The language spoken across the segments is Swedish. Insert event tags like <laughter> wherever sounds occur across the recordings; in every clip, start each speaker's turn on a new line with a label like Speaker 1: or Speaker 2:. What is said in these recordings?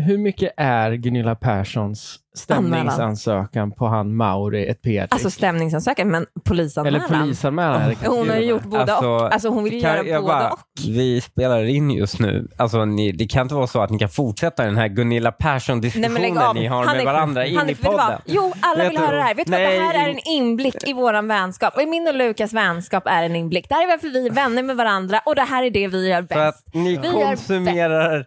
Speaker 1: hur mycket är Gunilla Perssons stämningsansökan på han Mauri ett PR?
Speaker 2: Alltså stämningsansökan, men
Speaker 1: Eller
Speaker 2: polisanmälan.
Speaker 1: polisanmälan? är det kanske
Speaker 2: hon har ju
Speaker 1: till och
Speaker 2: gjort
Speaker 1: med.
Speaker 2: båda
Speaker 3: Alltså,
Speaker 2: och. Alltså hon vill ju
Speaker 3: kan-
Speaker 2: göra
Speaker 3: jag
Speaker 2: båda
Speaker 3: bara-
Speaker 2: och.
Speaker 3: Vi spelar in just nu. Alltså, ni, det kan inte vara så att ni kan fortsätta den här Gunilla
Speaker 2: Nej, men lägg
Speaker 3: Persson-diskussionen
Speaker 2: av.
Speaker 3: ni har
Speaker 2: är-
Speaker 3: med varandra in
Speaker 2: han är-
Speaker 3: i
Speaker 2: vet du vad?
Speaker 3: podden.
Speaker 2: Jo, alla
Speaker 3: Vet
Speaker 2: vill
Speaker 3: du-
Speaker 2: höra det här. Vet du vad?
Speaker 3: Nej,
Speaker 2: Det här är
Speaker 3: in-
Speaker 2: en inblick i våran vänskap. Och i min och Lukas vänskap är en inblick. Det här är varför vi är vänner med varandra och det här är det vi gör
Speaker 3: För
Speaker 2: bäst.
Speaker 3: att ni
Speaker 2: Vi är
Speaker 3: konsumerar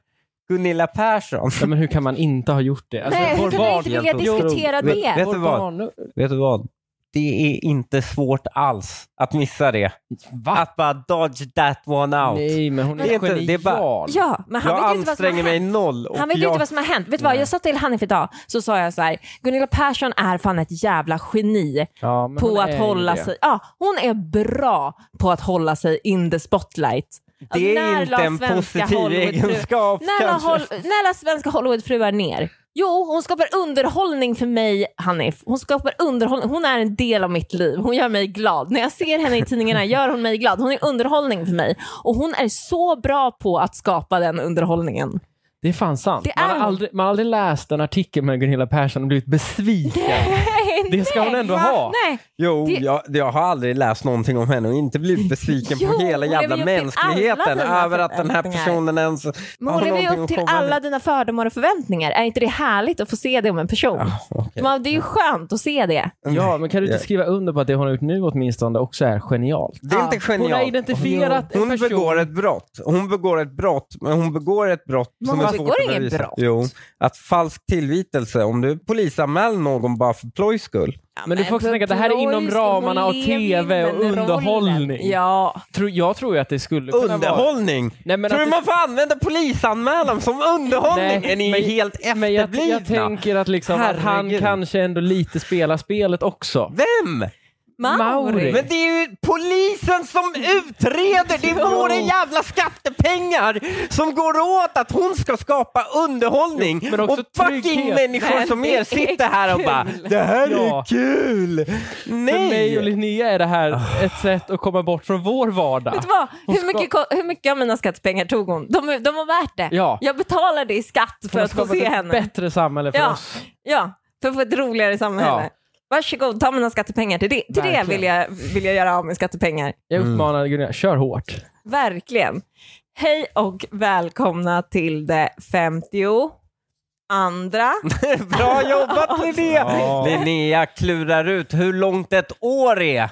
Speaker 3: Gunilla Persson.
Speaker 1: Ja, men hur kan man inte ha gjort det?
Speaker 2: Nej, hur
Speaker 1: vår
Speaker 2: kunde du
Speaker 1: barn-
Speaker 2: inte vilja diskutera
Speaker 3: Vet-
Speaker 2: det?
Speaker 3: vet-
Speaker 1: vår
Speaker 3: du vad?
Speaker 1: barn-
Speaker 3: Vet du vad? Det är inte svårt alls att missa det.
Speaker 1: Va?
Speaker 3: Att bara dodge that one out.
Speaker 1: Nej, men hon är,
Speaker 3: Det är inte-
Speaker 1: genial.
Speaker 3: det är bara-
Speaker 2: Ja, men han
Speaker 3: jag
Speaker 2: vet ju inte vad som har
Speaker 3: anstränger mig
Speaker 2: hänt.
Speaker 3: noll. Och
Speaker 2: Han vet ju
Speaker 3: jag...
Speaker 2: inte vad som har hänt. Vet du vad, jag sa till Hanif idag, så sa jag så här, Gunilla Persson är fan ett jävla geni
Speaker 1: Ja, men hon
Speaker 2: på
Speaker 1: är
Speaker 2: att
Speaker 1: ju
Speaker 2: hålla
Speaker 1: det.
Speaker 2: sig, ja hon är bra på att hålla sig in the spotlight. Alltså,
Speaker 3: Det
Speaker 2: när
Speaker 3: är
Speaker 2: la
Speaker 3: inte en
Speaker 2: svenska
Speaker 3: positiv
Speaker 2: Hollywoodfru-
Speaker 3: egenskap
Speaker 2: När la,
Speaker 3: kanske.
Speaker 2: Hol- när la svenska Hollywoodfruar ner? Jo, hon skapar underhållning för mig, Hanif. Hon skapar underhållning. Hon är en del av mitt liv. Hon gör mig glad. När jag ser henne i tidningarna gör hon mig glad. Hon är underhållning för mig. Och hon är så bra på att skapa den underhållningen.
Speaker 1: Det är fan sant.
Speaker 2: Det
Speaker 1: man,
Speaker 2: är
Speaker 1: har
Speaker 2: hon.
Speaker 1: aldrig, man har aldrig läst en artikel med Gunilla Persson och blivit besviken. Det ska hon ändå ha.
Speaker 2: Nej,
Speaker 3: Jo,
Speaker 2: Det-
Speaker 3: jag, jag har aldrig läst någonting om henne och inte blivit besviken
Speaker 2: <laughs> Jo,
Speaker 3: på hela
Speaker 2: hon lever
Speaker 3: jävla
Speaker 2: ju upp till alla
Speaker 3: mänskligheten
Speaker 2: dina
Speaker 3: över att den här
Speaker 2: förväntningar.
Speaker 3: personen ens
Speaker 2: men hon
Speaker 3: har
Speaker 2: lever ju
Speaker 3: Alltså, någonting
Speaker 2: upp till
Speaker 3: att komma med.
Speaker 2: alla dina fördomar och förväntningar. Är inte det härligt att få se det om en person?
Speaker 3: okej.
Speaker 2: Man, det är ju skönt att se det.
Speaker 1: Ja, men kan du inte
Speaker 3: Ja.
Speaker 1: skriva under på att det hon har gjort nu åtminstone också är genialt?
Speaker 3: Det är inte
Speaker 1: Hon har
Speaker 3: genialt.
Speaker 1: identifierat en
Speaker 3: Hon
Speaker 1: person.
Speaker 3: begår ett brott. Hon begår ett brott, men hon begår ett brott
Speaker 2: Men
Speaker 3: som
Speaker 2: hon
Speaker 3: är
Speaker 2: begår
Speaker 3: svårt att
Speaker 2: inget
Speaker 3: bevisa.
Speaker 2: brott.
Speaker 3: Jo, att falsk tillvitelse, om du polisanmäler någon bara för plojs skull.
Speaker 1: Men du får också tänka att det här är inom ramarna av tv och underhållning.
Speaker 2: Ja,
Speaker 1: Tror- Jag tror ju att det skulle kunna vara...
Speaker 3: Underhållning!
Speaker 1: Nej, men
Speaker 3: Tror
Speaker 1: att
Speaker 3: du
Speaker 1: det-
Speaker 3: man får använda polisanmälan som underhållning?
Speaker 1: Nej,
Speaker 3: är ni
Speaker 1: men-
Speaker 3: helt
Speaker 1: Men jag,
Speaker 3: efterblivna?
Speaker 1: jag tänker att, liksom, att han
Speaker 3: Herregud.
Speaker 1: kanske ändå lite spelar spelet också.
Speaker 3: Vem?
Speaker 1: Mauri.
Speaker 2: Mauri.
Speaker 3: Men det är ju polisen som utreder!
Speaker 1: <laughs>
Speaker 3: Det är våra jävla skattepengar som går åt att hon ska skapa underhållning
Speaker 1: Jo, men också
Speaker 3: och fucking
Speaker 1: trygghet.
Speaker 3: människor
Speaker 2: Men
Speaker 3: som
Speaker 2: det
Speaker 3: er
Speaker 2: är
Speaker 3: sitter här och bara
Speaker 2: kul.
Speaker 3: Det här
Speaker 1: Ja.
Speaker 3: är kul!
Speaker 1: För mig och
Speaker 3: Nej!
Speaker 1: Linnea är det här ett sätt att komma bort från vår vardag.
Speaker 2: Vet du vad?
Speaker 1: Hon
Speaker 2: Hur mycket, ko- hur mycket av mina skattepengar tog hon? De, de var värt det.
Speaker 1: Ja.
Speaker 2: Jag betalar det i skatt för
Speaker 1: Hon typ har
Speaker 2: att få
Speaker 1: skapat
Speaker 2: se
Speaker 1: ett
Speaker 2: henne.
Speaker 1: bättre samhälle för
Speaker 2: Ja.
Speaker 1: oss.
Speaker 2: Ja, för att få ett roligare samhälle.
Speaker 1: Ja.
Speaker 2: Varsågod, ta mina skattepengar. Till det, till det
Speaker 1: Verkligen.
Speaker 2: vill, jag, vill jag göra av med skattepengar.
Speaker 1: Jag uppmanar Gunilla, kör hårt.
Speaker 2: Verkligen. Hej och välkomna till det 50 andra.
Speaker 3: <laughs> Bra jobbat Linnea! Linnea klurar ut hur långt ett år är.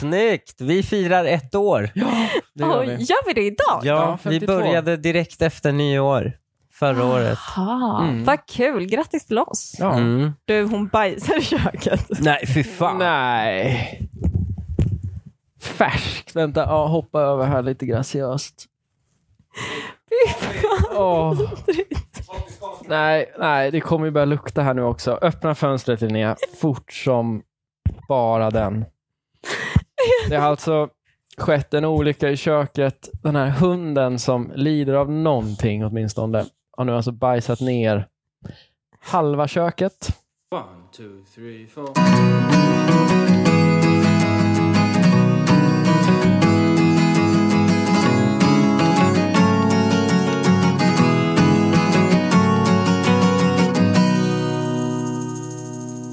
Speaker 3: Snyggt! Vi firar ett år.
Speaker 1: <laughs> Det gör
Speaker 2: Oj,
Speaker 1: vi.
Speaker 2: gör vi det idag?
Speaker 3: Ja, vi
Speaker 1: 52.
Speaker 3: började direkt efter nyår förra året.
Speaker 2: Jaha, vad kul. Grattis till oss.
Speaker 1: Ja.
Speaker 3: Mm.
Speaker 2: Du, hon bajsar i köket. <laughs>
Speaker 3: Nej, fy fan.
Speaker 1: Nej. Färskt. Vänta, ja, hoppa över här lite graciöst. Åh. Nej, nej, det kommer ju börja lukta här nu också. Öppna fönstret Linnea, fort som bara den. Det har alltså skett en olycka i köket. Den här hunden som lider av någonting åtminstone har nu alltså bajsat ner halva köket.
Speaker 4: One, two, three, four.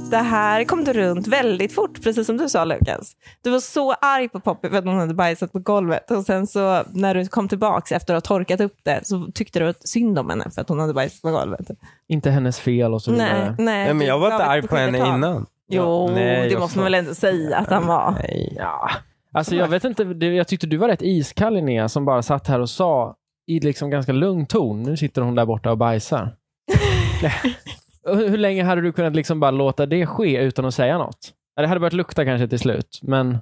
Speaker 2: Det här kom du runt väldigt fort, precis som du sa Lukas. Du var så arg på Poppy för att hon hade bajsat på golvet och sen så när du kom tillbaks efter att ha torkat upp det så tyckte du att synd om henne för att hon hade bajsat på golvet.
Speaker 1: Inte hennes fel och så vidare.
Speaker 2: Nej, nej.
Speaker 3: Mm, Nej, men jag var
Speaker 2: du
Speaker 3: inte
Speaker 2: gav
Speaker 3: arg
Speaker 2: ett
Speaker 3: på henne
Speaker 2: besked ett tag.
Speaker 3: innan.
Speaker 2: Jo,
Speaker 3: Nej,
Speaker 2: det
Speaker 3: jag
Speaker 2: måste
Speaker 3: sa-
Speaker 2: man väl ändå säga att han var.
Speaker 3: Nej.
Speaker 1: Ja, alltså jag vet inte. det- Jag tyckte du var rätt iskall Linnea som bara satt här och sa i liksom ganska lugn ton. Nu sitter hon där borta och bajsar. Och hur hur länge hade du kunnat liksom bara låta det ske utan att säga något? Ja, Det hade börjat lukta kanske till slut, men hade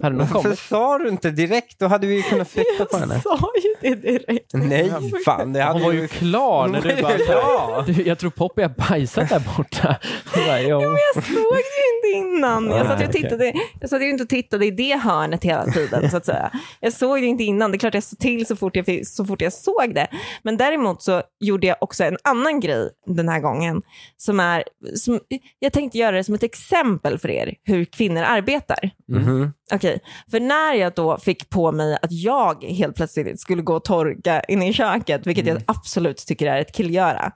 Speaker 1: det nog
Speaker 3: Varför
Speaker 1: kommit?
Speaker 3: sa du inte direkt? Då hade vi ju kunnat flytta på henne.
Speaker 2: <laughs> Jag sa ju det direkt.
Speaker 3: <laughs> Nej, fan. Det hade
Speaker 1: Hon var ju
Speaker 3: vi-
Speaker 1: klar när du bara
Speaker 3: Ja.
Speaker 1: du, <laughs> jag tror Poppy har bajsat där borta. Så Bara, jo.
Speaker 2: Jag såg ju inte innan. Jag satt, ju och
Speaker 1: Nej,
Speaker 2: tittade, jag satt ju inte och tittade i det hörnet hela tiden. så att säga. Jag såg det inte innan. Det är klart jag såg till så fort jag, fick, så fort jag såg det. Men däremot så gjorde jag också en annan grej den här gången. Som är, som, jag tänkte göra det som ett exempel för er hur kvinnor arbetar.
Speaker 1: Mm-hmm.
Speaker 3: Mhm.
Speaker 2: Okej, för när jag då fick på mig att jag helt plötsligt skulle gå och torka inne i köket, vilket
Speaker 1: Mm.
Speaker 2: jag absolut tycker är ett killgöra.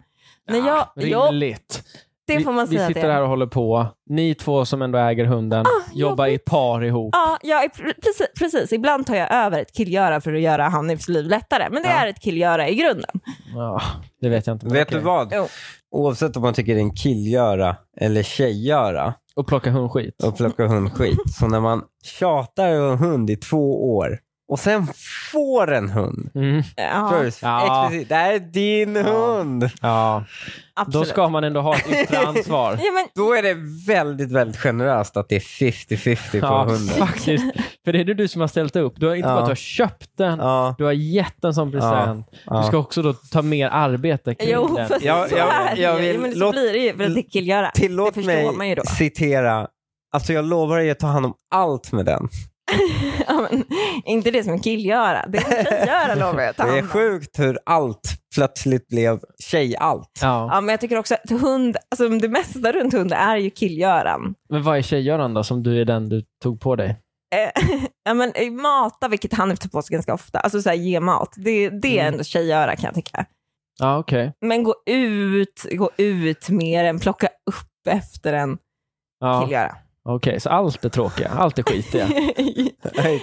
Speaker 2: När jag, jo,
Speaker 1: Rimligt.
Speaker 2: det får man
Speaker 1: vi,
Speaker 2: säga
Speaker 1: vi
Speaker 2: att
Speaker 1: sitter
Speaker 2: det är. Ah,
Speaker 1: här och håller på. Ni två som ändå äger hunden jobbar i par ihop.
Speaker 2: Ja, jag är pre- precis, precis. Ibland tar jag över ett killgöra för att göra Hanifs liv lättare. Men det är ett killgöra i grunden.
Speaker 1: Ja, det vet jag inte. men
Speaker 3: Vet
Speaker 1: okej.
Speaker 3: du vad?
Speaker 2: Jo.
Speaker 3: Oavsett om man tycker det är en killgöra eller tjejgöra
Speaker 1: Och plocka hundskit.
Speaker 3: och plocka hundskit. Så när man tjatar om en hund i två år och sen får en hund.
Speaker 1: Mm.
Speaker 2: Eh, Ja,
Speaker 3: Först,
Speaker 1: Ja.
Speaker 3: explicit, det här är din hund.
Speaker 1: Ja, då
Speaker 2: absolut.
Speaker 1: ska man ändå ha ett
Speaker 2: <laughs>
Speaker 1: yttre ansvar.
Speaker 2: Ja, men,
Speaker 3: Då är det väldigt, väldigt generöst att det är 50-50 på
Speaker 1: Ja,
Speaker 3: hunden.
Speaker 1: faktiskt. För det är det du som har ställt upp. Du har inte
Speaker 3: Ja.
Speaker 1: bara att du har köpt den,
Speaker 3: Ja,
Speaker 1: du har gett den som present.
Speaker 3: ja.
Speaker 1: Du ska också då ta mer arbete kring
Speaker 2: jo,
Speaker 1: den.
Speaker 2: fast
Speaker 3: Jag-
Speaker 2: så
Speaker 3: jag-
Speaker 2: är det
Speaker 3: jag
Speaker 2: ju.
Speaker 3: vill-
Speaker 2: Ja, men så
Speaker 3: låt-
Speaker 2: blir det ju för att det är killgöra.
Speaker 3: Tillåt
Speaker 2: det förstår
Speaker 3: mig
Speaker 2: man ju då. <laughs>
Speaker 3: citera. Alltså jag lovar dig att ta hand om allt med den.
Speaker 2: Ja, men, inte det som är killgöra. Det är tjejgöra lovar jag. Ta
Speaker 3: <laughs> Det är
Speaker 2: hand om.
Speaker 3: sjukt hur allt plötsligt blev
Speaker 2: <laughs>
Speaker 3: tjej-allt.
Speaker 1: Ja.
Speaker 2: Ja, men jag tycker också att hund, alltså det mesta runt hund är ju killgöran.
Speaker 1: Men vad är tjejgöran då, som du är den du tog på dig?
Speaker 2: Ja, men eh, <laughs> mata, vilket han tar på sig ganska ofta, alltså så här, ge mat, det, det är
Speaker 3: Mm.
Speaker 2: ändå tjejgöra kan jag tycka.
Speaker 1: Ja, okej.
Speaker 2: Men gå ut, gå ut mer än plocka upp efter en
Speaker 1: Ja,
Speaker 2: killgöra.
Speaker 1: okej. Så allt är tråkiga, allt är skitiga.
Speaker 2: <laughs>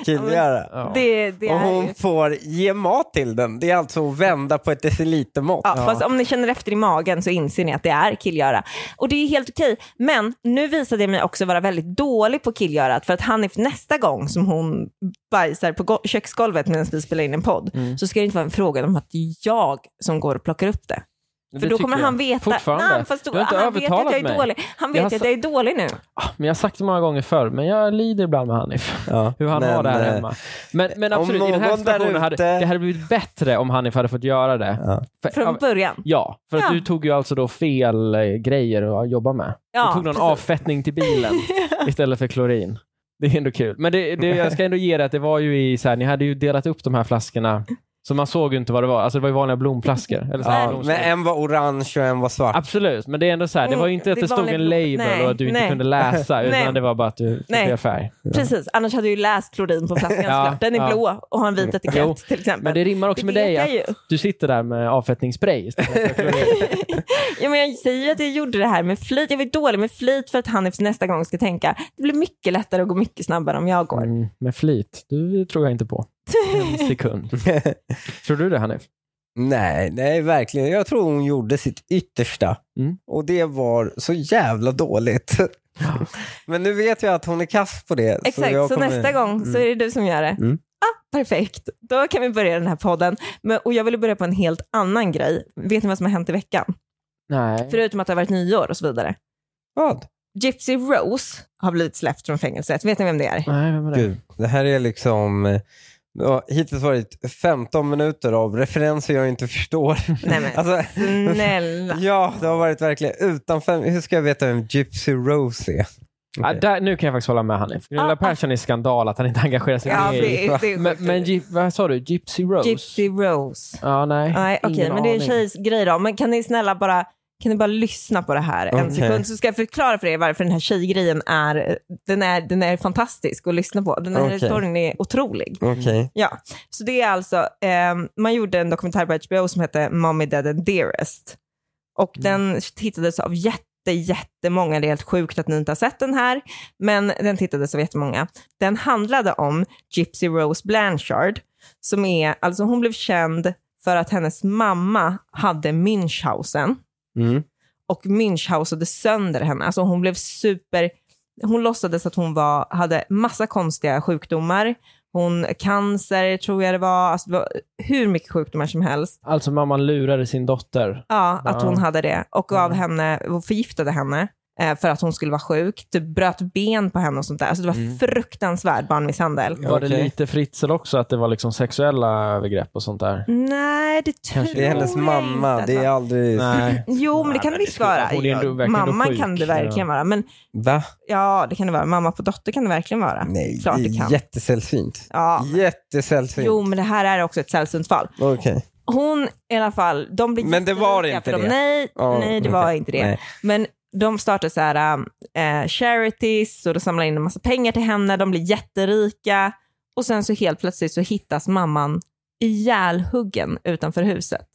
Speaker 3: Killgöra.
Speaker 1: <laughs> Ja.
Speaker 2: det, det
Speaker 3: Och
Speaker 2: är
Speaker 3: hon
Speaker 2: ju...
Speaker 3: får ge mat till den. Det är alltså att vända på ett decilitermått.
Speaker 2: Ja, Fast om ni känner efter i magen så inser ni att det är killgöra. Och det är helt okej. Men nu visade jag mig också vara väldigt dålig på killgörat för att Hanif nästa gång som hon bajsar på go- köksgolvet medan vi spelar in en podd
Speaker 1: Mm.
Speaker 2: så ska det inte vara en fråga om att det är jag som går och plockar upp det. För
Speaker 1: Det
Speaker 2: då
Speaker 1: tycker
Speaker 2: kommer
Speaker 1: jag.
Speaker 2: han veta.
Speaker 1: Fortfarande.
Speaker 2: Nej, fast då,
Speaker 1: du har inte
Speaker 2: han vet ju att
Speaker 1: övertalat
Speaker 2: jag är
Speaker 1: mig.
Speaker 2: dålig. Han vet
Speaker 1: Jag har
Speaker 2: ju att jag är dålig nu.
Speaker 1: Ah, Men jag har sagt det många gånger förr, men jag lider ibland med Hanif.
Speaker 3: Ja,
Speaker 1: Hur han
Speaker 3: men,
Speaker 1: har det här
Speaker 3: eh,
Speaker 1: hemma. Men, men
Speaker 3: om
Speaker 1: absolut, i den här
Speaker 3: någon där
Speaker 1: situationen hade
Speaker 3: ute-
Speaker 1: det hade blivit bättre om Hanif hade fått göra det.
Speaker 3: Ja.
Speaker 1: För,
Speaker 2: Från
Speaker 1: av-
Speaker 2: början.
Speaker 1: ja, för att
Speaker 2: Ja.
Speaker 1: du tog ju alltså då fel eh, grejer att jobba med.
Speaker 2: Ja,
Speaker 1: du tog någon
Speaker 2: precis.
Speaker 1: avfettning till
Speaker 2: <laughs>
Speaker 1: bilen istället för klorin. Det är ändå kul. Men det, det, jag ska ändå ge det att det var ju i så här, ni hade ju delat upp de här flaskorna, så man såg ju inte vad det var. Alltså det var ju vanliga blomflaskor. Eller så här,
Speaker 3: Ja,
Speaker 1: blomskor.
Speaker 3: men en var orange och en var svart.
Speaker 1: Absolut, men det är ändå så här, det var ju inte
Speaker 2: Mm,
Speaker 1: att
Speaker 2: det
Speaker 1: det stod
Speaker 2: vanliga
Speaker 1: en
Speaker 2: blom-
Speaker 1: label
Speaker 2: Nej,
Speaker 1: och att du inte
Speaker 2: nej.
Speaker 1: kunde
Speaker 2: <laughs>
Speaker 1: läsa, utan
Speaker 2: Nej.
Speaker 1: det var bara att du fick
Speaker 2: Nej.
Speaker 1: fel färg.
Speaker 2: Precis, annars hade du ju läst klorin på
Speaker 1: <laughs>
Speaker 2: flaskan
Speaker 1: Ja,
Speaker 2: såklart. Den är
Speaker 1: ja. Mm.
Speaker 2: blå och har en vit etikett
Speaker 1: Jo,
Speaker 2: till exempel.
Speaker 1: Men det rimmar också
Speaker 2: Det
Speaker 1: med
Speaker 2: vet
Speaker 1: dig
Speaker 2: jag
Speaker 1: att
Speaker 2: ju.
Speaker 1: du sitter där med avfettningsspray istället för klorin.
Speaker 2: Ja, men jag säger ju att jag gjorde det här med flit. Jag var dålig med flit för att Hanif nästa gång ska tänka det blir mycket lättare och gå mycket snabbare om jag går.
Speaker 1: Mm, med flit, du tror jag inte på.
Speaker 2: <laughs>
Speaker 1: En sekund. Tror du det Hanif?
Speaker 3: <laughs> Nej, nej verkligen. Jag tror hon gjorde sitt yttersta.
Speaker 1: Mm.
Speaker 3: Och det var så jävla dåligt. <laughs> Men nu vet jag att hon är kass på det.
Speaker 2: Exakt, så,
Speaker 3: jag kommer-
Speaker 2: nästa gång så är det du som gör det.
Speaker 3: Mm.
Speaker 2: Ah, perfekt, då kan vi börja den här podden. Men, och jag ville börja på en helt annan grej. Vet ni vad som har hänt i veckan?
Speaker 1: Nej.
Speaker 2: Förutom att det har varit nyår och så vidare.
Speaker 3: Vad?
Speaker 2: Gypsy Rose har blivit släppt från fängelset. Vet ni vem
Speaker 1: <laughs>
Speaker 2: det är?
Speaker 1: Nej, vem är det?
Speaker 3: Gud, det här är liksom... eh, det har hittills varit 15 minuter av referenser jag inte förstår.
Speaker 2: Nej men
Speaker 3: <laughs> Alltså,
Speaker 1: <laughs>
Speaker 2: snälla.
Speaker 3: ja, det har varit verkligen utanför. Hur ska jag veta vem Gypsy Rose är?
Speaker 1: Ah, där, nu kan jag faktiskt hålla med Hanif. Gunilla
Speaker 2: Ah, ah.
Speaker 1: Persson är skandal att han inte engagerar sig
Speaker 2: Ja,
Speaker 1: mer i-
Speaker 2: det, är- det är
Speaker 1: Men,
Speaker 2: sjukt.
Speaker 1: men Gy- vad sa du? Gypsy Rose?
Speaker 2: Gypsy Rose.
Speaker 1: Ja, nej.
Speaker 2: Nej, okej,
Speaker 1: Ingen
Speaker 2: men det är
Speaker 1: aning.
Speaker 2: tjejs grej då. Men kan ni snälla bara, kan ni bara lyssna på det här en
Speaker 3: Okej.
Speaker 2: sekund så ska jag förklara för er varför den här tjejgrejen är, den är, den är fantastisk att lyssna på. Den här
Speaker 3: Okej.
Speaker 2: storyn är otrolig.
Speaker 3: Okej.
Speaker 2: Ja, så det är alltså, ehm, man gjorde en dokumentär på HBO som hette Mommy Dead and Dearest. Och den tittades av jätte, jättemånga. Det är helt sjukt att ni inte har sett den här, men den tittades av jättemånga. Den handlade om Gypsy Rose Blanchard, som är, alltså hon blev känd för att hennes mamma hade Münchhausen
Speaker 3: Mm.
Speaker 2: och Münchhausade sönder henne. Alltså hon blev super... Hon låtsades att hon var, hade massa konstiga sjukdomar. Hon, cancer tror jag det var. Alltså det var hur mycket sjukdomar som helst.
Speaker 1: Alltså mamman lurade sin dotter.
Speaker 2: Ja, att
Speaker 1: Ja.
Speaker 2: hon hade det. Och gav
Speaker 1: Ja.
Speaker 2: henne, och förgiftade henne. eh, för att hon skulle vara sjuk. Typ bröt ben på henne och sånt där. Alltså det var
Speaker 1: Mm.
Speaker 2: fruktansvärd barnmisshandel.
Speaker 1: Var det
Speaker 5: Okej.
Speaker 1: lite fritzel också, att det var liksom sexuella övergrepp och sånt där?
Speaker 2: Nej, det tror
Speaker 1: Kanske.
Speaker 2: jag
Speaker 1: Det
Speaker 3: Det är hennes
Speaker 2: inte
Speaker 3: mamma.
Speaker 2: att
Speaker 3: Det
Speaker 2: det
Speaker 3: är
Speaker 2: var.
Speaker 3: aldrig...
Speaker 1: Nej.
Speaker 2: Jo, men det
Speaker 1: Nej,
Speaker 2: kan det
Speaker 1: men
Speaker 2: visst
Speaker 1: skulle-
Speaker 2: vara.
Speaker 1: hon är ändå verkligen
Speaker 2: Mamman
Speaker 1: sjuk.
Speaker 2: kan det verkligen vara. Men
Speaker 3: Va?
Speaker 2: ja, det kan det vara. Mamma på dotter kan det verkligen vara.
Speaker 1: Mm.
Speaker 3: Nej,
Speaker 2: Klart
Speaker 3: det
Speaker 2: det kan.
Speaker 3: är jättesällsynt.
Speaker 2: Ja.
Speaker 3: Jättesällsynt.
Speaker 2: Jo, men det här är också ett sällsynt fall.
Speaker 3: Okej.
Speaker 2: Hon i alla fall, de blir
Speaker 3: Men det var
Speaker 2: jättelika
Speaker 3: inte
Speaker 2: för dem.
Speaker 3: det.
Speaker 2: Nej,
Speaker 3: Ja,
Speaker 2: nej, det var inte det.
Speaker 3: Nej.
Speaker 2: Men de startar så här, eh, charities och de samlar in en massa pengar till henne. De blir jätterika och sen så helt plötsligt så hittas mamman ihjälhuggen utanför huset.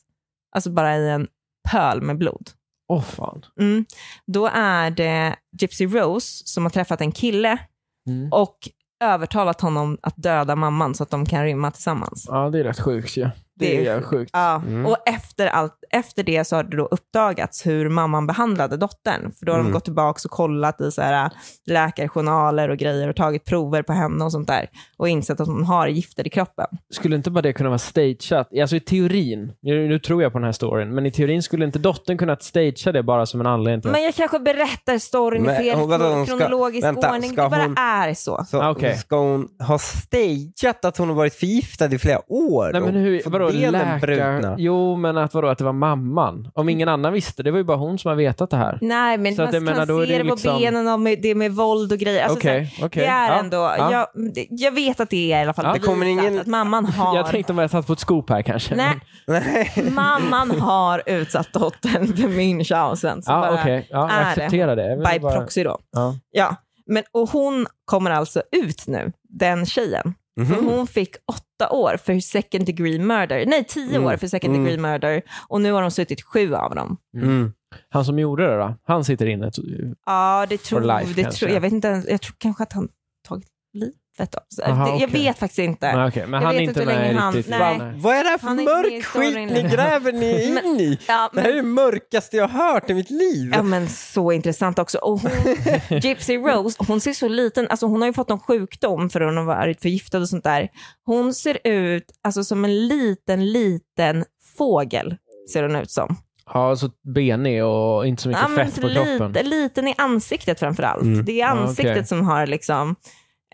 Speaker 2: Alltså bara i en pöl med blod.
Speaker 1: Åh fan.
Speaker 2: Mm. Då är det Gypsy Rose som har träffat en kille
Speaker 1: Mm.
Speaker 2: och övertalat honom att döda mamman så att de kan rymma tillsammans.
Speaker 1: Ja, det är rätt sjukt ju. Det,
Speaker 2: Det är
Speaker 1: är sjukt.
Speaker 2: Ja,
Speaker 5: Mm.
Speaker 2: och efter, allt, efter det så har det då uppdagats hur mamman behandlade dottern. För då har
Speaker 3: Mm.
Speaker 2: de gått tillbaka och kollat i så här, äh, läkarjournaler och grejer och tagit prover på henne och sånt där. Och insett att hon har gifter i kroppen.
Speaker 1: Skulle inte bara det kunna vara stageat? Alltså i teorin, nu, nu tror jag på den här storyn, men i teorin skulle inte dottern kunnat stagea det bara som en anledning till
Speaker 2: Men jag kanske berättar storyn i
Speaker 3: Men
Speaker 2: fel
Speaker 3: hon- vadå, hon ska-
Speaker 2: kronologisk
Speaker 3: vänta,
Speaker 2: ordning. Det
Speaker 3: ska
Speaker 2: bara
Speaker 3: hon-
Speaker 2: är så.
Speaker 3: Så
Speaker 1: Ah, okej.
Speaker 3: ska hon ha stageat att hon har varit förgiftad i flera år?
Speaker 1: Nej men hur,
Speaker 3: och
Speaker 1: vadå
Speaker 3: fått benen
Speaker 1: läkare?
Speaker 3: brutna?
Speaker 1: Jo men att vadå, att det var mamman? Om ingen annan visste, det var ju bara hon som har vetat det här.
Speaker 2: Nej, men
Speaker 1: Så att jag
Speaker 2: man kan
Speaker 1: menar, då är
Speaker 2: se
Speaker 1: det
Speaker 2: det, på
Speaker 1: liksom-
Speaker 2: benen och med, det är med våld och grejer. Alltså, så här,
Speaker 1: Okej, okej.
Speaker 2: Det är
Speaker 1: Ja,
Speaker 2: ändå,
Speaker 1: ja.
Speaker 2: jag, det- jag vet att det är i alla fall
Speaker 1: Ja.
Speaker 3: Det kommer
Speaker 2: bevisat
Speaker 3: ingen-
Speaker 2: att mamman
Speaker 1: <laughs>
Speaker 2: har...
Speaker 1: Jag tänkte om jag satt på ett skop här kanske.
Speaker 2: Nej,
Speaker 3: <laughs> Nej.
Speaker 2: mamman har utsatt dottern för Münchhausen.
Speaker 1: <laughs>
Speaker 2: Så
Speaker 1: Ja,
Speaker 2: bara
Speaker 1: Ah, okej. Ja, jag
Speaker 2: är
Speaker 1: accepterar det. Jag vill
Speaker 2: by
Speaker 1: bara-
Speaker 2: proxy då.
Speaker 1: Ja.
Speaker 2: Ja. Men, och hon kommer alltså ut nu, den tjejen. För
Speaker 1: Mm.
Speaker 2: hon fick åtta år för second degree murder. Nej, tio
Speaker 1: Mm.
Speaker 2: år för second degree murder. Och nu har hon suttit sju av dem.
Speaker 3: Mm.
Speaker 1: Han som gjorde det då? Han sitter inne.
Speaker 2: Ja, det tror
Speaker 1: life,
Speaker 2: det
Speaker 1: kanske.
Speaker 2: tror, jag. Vet inte, ens- jag tror kanske att han tagit livet av sig.
Speaker 1: Aha,
Speaker 2: Det- Jag
Speaker 1: okej.
Speaker 2: vet faktiskt inte.
Speaker 1: Nej, okej, Men
Speaker 2: Jag
Speaker 1: han är
Speaker 2: vet
Speaker 1: inte
Speaker 2: inte hur
Speaker 1: med
Speaker 2: länge han-
Speaker 1: riktigt.
Speaker 2: nej.
Speaker 3: Vad är det här för
Speaker 2: Han är inte med i
Speaker 3: mörk
Speaker 2: storyn
Speaker 3: skit ni
Speaker 2: längre. <laughs>
Speaker 3: gräver ni in i?
Speaker 2: Ja,
Speaker 3: Det här är det mörkaste jag har hört i mitt liv.
Speaker 2: Ja men så intressant också.
Speaker 1: <laughs>
Speaker 2: Och hon, Gypsy Rose, hon ser så liten, alltså hon har ju fått någon sjukdom för hon har varit förgiftad och sånt där. Hon ser ut alltså, som en liten, liten fågel ser hon ut som.
Speaker 1: Ja, så benig och inte så mycket
Speaker 2: Ja, men
Speaker 1: fett på kroppen.
Speaker 2: lite, liten i ansiktet framför allt.
Speaker 3: Mm.
Speaker 2: Det är
Speaker 1: Ja,
Speaker 2: ansiktet
Speaker 1: okej.
Speaker 2: som har liksom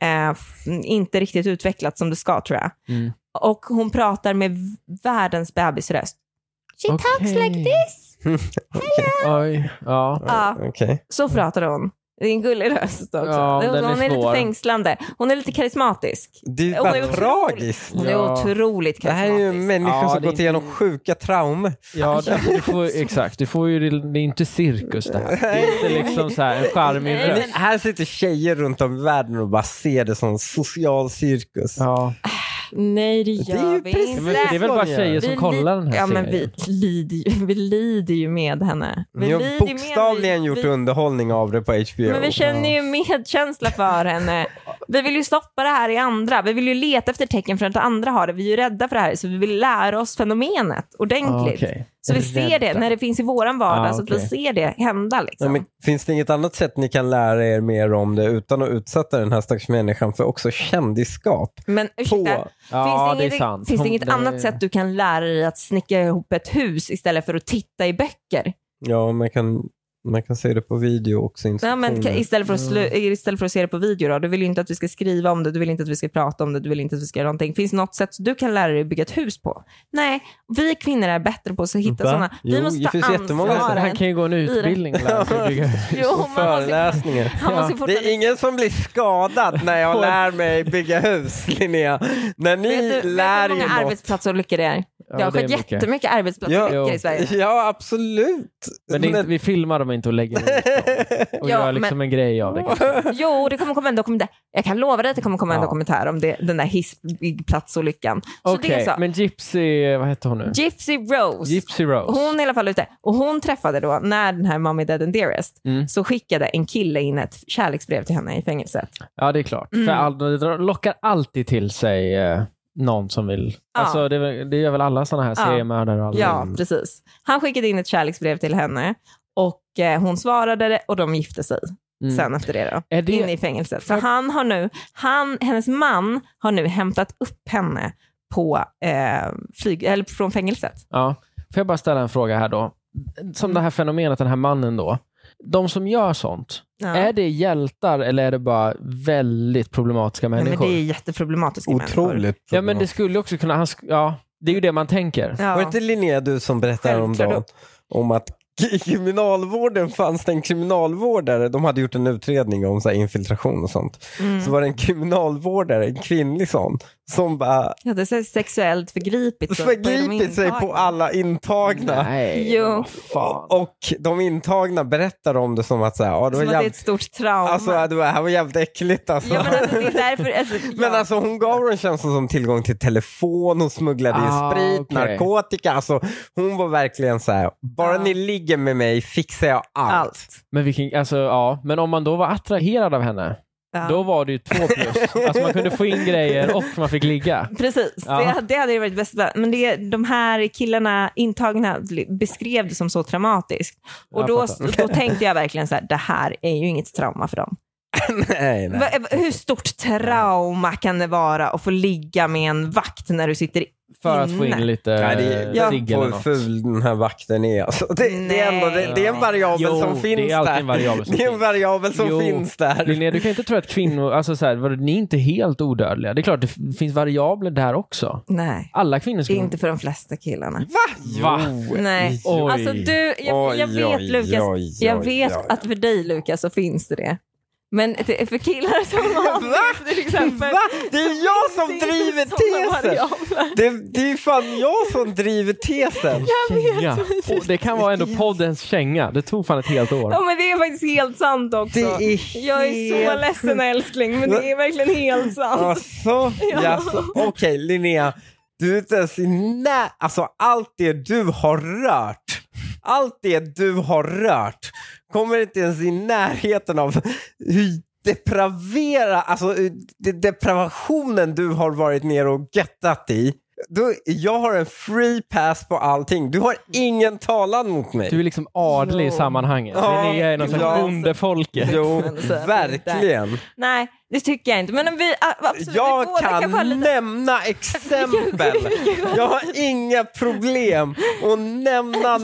Speaker 2: eh, f- inte riktigt utvecklats som det ska tror jag.
Speaker 1: Mm.
Speaker 2: Och hon pratar med v- världens bebisröst. She talks
Speaker 1: Okej.
Speaker 2: like this.
Speaker 1: Oj, ja.
Speaker 2: Ja.
Speaker 3: Okej.
Speaker 2: Så pratar hon. Det är en gullig röst också.
Speaker 1: Mm. Ja,
Speaker 2: hon
Speaker 1: den är
Speaker 2: hon är, lite
Speaker 1: svår. Mm.
Speaker 2: fängslande. Hon är lite karismatisk.
Speaker 3: Det är ju
Speaker 2: Hon är
Speaker 3: bara
Speaker 2: otroligt-
Speaker 3: tragiskt.
Speaker 2: Hon är
Speaker 1: Ja.
Speaker 2: otroligt
Speaker 3: Det här är ju
Speaker 2: karismatisk.
Speaker 3: människor
Speaker 1: Ja,
Speaker 3: som
Speaker 1: det är
Speaker 3: gått igenom
Speaker 1: inte-
Speaker 3: sjuka traumer.
Speaker 1: Ja, det, du får, exakt. Du får ju, det är inte cirkus det här. Det är inte liksom så här en charmig
Speaker 2: Nej, men-
Speaker 1: röst.
Speaker 3: Men Här sitter tjejer runt om i världen och bara ser det som social cirkus.
Speaker 1: Ja.
Speaker 2: Nej, det
Speaker 3: Det
Speaker 2: gör
Speaker 3: är ju
Speaker 2: vi
Speaker 3: precis-
Speaker 2: inte.
Speaker 1: Men det är väl bara tjejer som
Speaker 2: Vi
Speaker 1: kollar
Speaker 2: lid-
Speaker 1: den här
Speaker 2: ja, men
Speaker 1: serien?
Speaker 2: vi, lider ju, vi lider ju med henne. Vi
Speaker 3: Ni har
Speaker 2: lider ju med-
Speaker 3: bokstavligen
Speaker 2: vi-
Speaker 3: gjort
Speaker 2: vi-
Speaker 3: underhållning av det på HBO.
Speaker 2: Men vi känner ju medkänsla för henne. Vi vill ju stoppa det här i andra. Vi vill ju leta efter tecken för att andra har det. Vi är ju rädda för det här, så vi vill lära oss fenomenet
Speaker 1: Ah,
Speaker 2: ordentligt.
Speaker 1: okej.
Speaker 2: Så vi ser det
Speaker 3: Rädda.
Speaker 2: när det finns i våran vardag,
Speaker 1: Ah,
Speaker 2: så att vi
Speaker 1: okej.
Speaker 2: ser det hända. Liksom.
Speaker 3: Ja, men finns det inget annat sätt ni kan lära er mer om det utan att utsätta den här stackars människan för också kändisskap?
Speaker 2: Men
Speaker 3: På.
Speaker 2: ursäkta,
Speaker 1: Ja,
Speaker 2: finns
Speaker 1: det
Speaker 2: det
Speaker 1: är
Speaker 2: inget,
Speaker 1: sant.
Speaker 2: finns det
Speaker 1: Hon-
Speaker 2: inget
Speaker 1: det-
Speaker 2: annat sätt du kan lära dig att snickra ihop ett hus istället för att titta i böcker?
Speaker 3: Ja, man kan, man kan se det på video också.
Speaker 2: Nej, men
Speaker 3: instruktioner.
Speaker 2: ka- istället, för att slu- istället för att se det på video då? Du vill ju inte att vi ska skriva om det, du vill inte att vi ska prata om det, du vill inte att vi ska göra någonting. Finns det något sätt du kan lära dig att bygga ett hus på? Nej, vi kvinnor är bättre på att hitta
Speaker 3: Va?
Speaker 2: sådana. Vi
Speaker 3: Jo,
Speaker 2: måste
Speaker 3: det
Speaker 2: ta
Speaker 3: finns jättemånga sätt.
Speaker 1: Han
Speaker 2: ansvaret.
Speaker 1: kan ju gå en utbildning och lära sig att bygga
Speaker 2: <laughs> Jo, <laughs> man
Speaker 3: och
Speaker 2: måste,
Speaker 3: föreläsningar.
Speaker 2: han måste
Speaker 1: Ja.
Speaker 3: Det är
Speaker 2: fortfarande...
Speaker 3: ingen som blir skadad när jag lär mig bygga hus, Linnea. När ni
Speaker 2: Vet du, vet
Speaker 3: lär
Speaker 2: du hur
Speaker 3: er
Speaker 2: många
Speaker 3: något.
Speaker 2: arbetsplatsolyckor det är?
Speaker 1: Ja,
Speaker 2: det har
Speaker 1: det är
Speaker 2: skett
Speaker 1: mycket.
Speaker 2: jättemycket arbetsplatsolyckor
Speaker 1: Jo.
Speaker 2: i Sverige.
Speaker 3: Ja, absolut.
Speaker 1: Men det är inte, vi filmar dem inte och lägger ut dem. Och
Speaker 2: Ja,
Speaker 1: gör liksom en grej
Speaker 2: <laughs>
Speaker 1: av det.
Speaker 2: Jo, det kommer komma en dokumentär. Jag kan lova dig att det kommer komma en
Speaker 1: Ja.
Speaker 2: dokumentär om det, den där hissplatsolyckan. Så det
Speaker 1: Okej,
Speaker 2: är så.
Speaker 1: men Gypsy, vad hette hon nu?
Speaker 2: Gypsy Rose.
Speaker 1: Gypsy Rose.
Speaker 2: Hon är i alla fall ute. Och hon träffade då, när den här Mommy Dead and Dearest,
Speaker 1: Mm.
Speaker 2: så skickade en kille in ett kärleksbrev till henne i fängelset.
Speaker 1: Ja, det är klart.
Speaker 2: Mm.
Speaker 1: För all, det drar- lockar alltid till sig eh, någon som vill.
Speaker 2: Ja.
Speaker 1: Alltså, det, är väl- det gör väl alla sådana här
Speaker 2: Ja.
Speaker 1: seriemördare och alla. Mm.
Speaker 2: Ja, precis. Han skickade in ett kärleksbrev till henne och eh, hon svarade det och de gifte sig
Speaker 1: Mm.
Speaker 2: sen efter det. Då.
Speaker 1: Är det-
Speaker 2: Inne i fängelset. Så han har nu, han, hennes man har nu hämtat upp henne på, eh, flyg, eller från fängelset. Mm.
Speaker 1: Ja. Får jag bara ställa en fråga här då? Som det här fenomenet, den här mannen då. de som gör sånt,
Speaker 2: Ja.
Speaker 1: är det hjältar eller är det bara väldigt problematiska
Speaker 2: Nej, men
Speaker 1: människor?
Speaker 2: det är jätteproblematiskt.
Speaker 3: Otroligt
Speaker 1: Ja, men det skulle också kunna... Han, sk- ja, det är ju det man tänker.
Speaker 2: Ja.
Speaker 3: Var det inte Linnea du som berättade om
Speaker 2: Självklart.
Speaker 3: dagen om att i kriminalvården fanns det en kriminalvårdare, de hade gjort en utredning om så här infiltration och sånt.
Speaker 2: Mm.
Speaker 3: Så var det en kriminalvårdare, en kvinnlig sån, som bara
Speaker 2: Jag hade så sexuellt förgripit, sig på de
Speaker 3: förgripit sig på
Speaker 2: intagna.
Speaker 3: alla intagna.
Speaker 1: Nej,
Speaker 2: Jo.
Speaker 1: vad fan.
Speaker 3: Och de intagna berättar om det som att så här, ja, det
Speaker 2: Som
Speaker 3: var
Speaker 2: att det är ett
Speaker 3: jävligt,
Speaker 2: stort trauma.
Speaker 3: alltså, det var, det här var jävligt äckligt alltså.
Speaker 2: ja, men alltså, det är därför, alltså, ja.
Speaker 3: <laughs> Men alltså hon gav dem tjänsten som tillgång till telefon, hon smugglade
Speaker 1: Ah,
Speaker 3: in sprit,
Speaker 1: okej.
Speaker 3: narkotika. Alltså, hon var verkligen så här, bara
Speaker 2: Ah.
Speaker 3: ni ligger med mig fixar jag allt.
Speaker 2: allt.
Speaker 1: Men, vilken, alltså, ja. men om man då var attraherad av henne,
Speaker 2: Ja.
Speaker 1: då var det ju två plus. Alltså man kunde få in grejer och man fick ligga.
Speaker 2: Precis,
Speaker 1: Ja.
Speaker 2: det, det hade ju varit bäst. Men det, de här killarna, intagna, beskrev det som så traumatiskt. Och
Speaker 1: Jag
Speaker 2: då,
Speaker 1: fattar.
Speaker 2: då tänkte jag verkligen så här, det här är ju inget trauma för dem.
Speaker 3: <laughs> nej, nej.
Speaker 2: Va- Hur stort trauma kan det vara att få ligga med en vakt när du sitter
Speaker 1: För att få
Speaker 2: inne?
Speaker 1: in lite
Speaker 3: Nej, det är
Speaker 1: eh,
Speaker 3: jag
Speaker 1: cigg eller
Speaker 3: på hur
Speaker 1: något.
Speaker 3: ful den här vakten är. Alltså, det, det, är ändå, det, det är en
Speaker 2: Nej.
Speaker 3: variabel
Speaker 1: Jo,
Speaker 3: som finns
Speaker 1: det är alltid
Speaker 3: där.
Speaker 1: en variabel som
Speaker 3: det är en
Speaker 1: finns.
Speaker 3: variabel som
Speaker 1: Jo.
Speaker 3: finns där.
Speaker 1: Linnea, du kan inte tro att kvinnor, alltså så här, vadå, ni är inte helt odödliga. Det är klart det f- finns variabler där också.
Speaker 2: Nej,
Speaker 1: Alla kvinnor
Speaker 2: det är
Speaker 1: skulle...
Speaker 2: inte för de flesta killarna.
Speaker 1: Va?
Speaker 2: Nej.
Speaker 1: Oj.
Speaker 2: Alltså du, jag, jag
Speaker 3: Oj,
Speaker 2: vet
Speaker 3: oj,
Speaker 2: Lukas,
Speaker 3: oj,
Speaker 2: jag
Speaker 3: oj,
Speaker 2: vet
Speaker 3: oj.
Speaker 2: att för dig Lukas så finns det det. Men det- för killar som
Speaker 3: <laughs> Va?
Speaker 2: har till exempel.
Speaker 3: Va? Det är jag som
Speaker 2: finns
Speaker 3: driver
Speaker 2: sådana
Speaker 3: tesen!
Speaker 2: variabler.
Speaker 3: Det, det är fan jag som driver tesen!
Speaker 1: Känga. Och det kan vara ändå poddens känga. Det tog fan ett helt år.
Speaker 2: Ja men det är faktiskt helt sant också.
Speaker 3: Det är
Speaker 2: Jag är så
Speaker 3: helt-
Speaker 2: ledsen älskling men det är verkligen helt sant.
Speaker 3: Alltså,
Speaker 2: Ja.
Speaker 3: jaså. Okej, Linnea. Du är inte ens i nä... Alltså, allt det du har rört. Allt det du har rört kommer inte ens i närheten av hur depravera, alltså hur de- depravationen du har varit nere och göttat i. Du, jag har en free pass på allting. Du har ingen talan mot mig.
Speaker 1: Du är liksom adlig i
Speaker 2: Ja.
Speaker 1: sammanhanget.
Speaker 3: Ja,
Speaker 1: Linnea är någon slags
Speaker 3: ja.
Speaker 1: underfolke.
Speaker 3: Jo,
Speaker 2: Men så är det
Speaker 3: verkligen.
Speaker 2: Nej det tycker jag inte men vi, a- absolut, vi
Speaker 3: Jag
Speaker 2: båda
Speaker 3: kan
Speaker 2: kanske har lite... <laughs>
Speaker 3: nämna exempel. Jag har inga problem att
Speaker 2: <laughs>
Speaker 3: nämna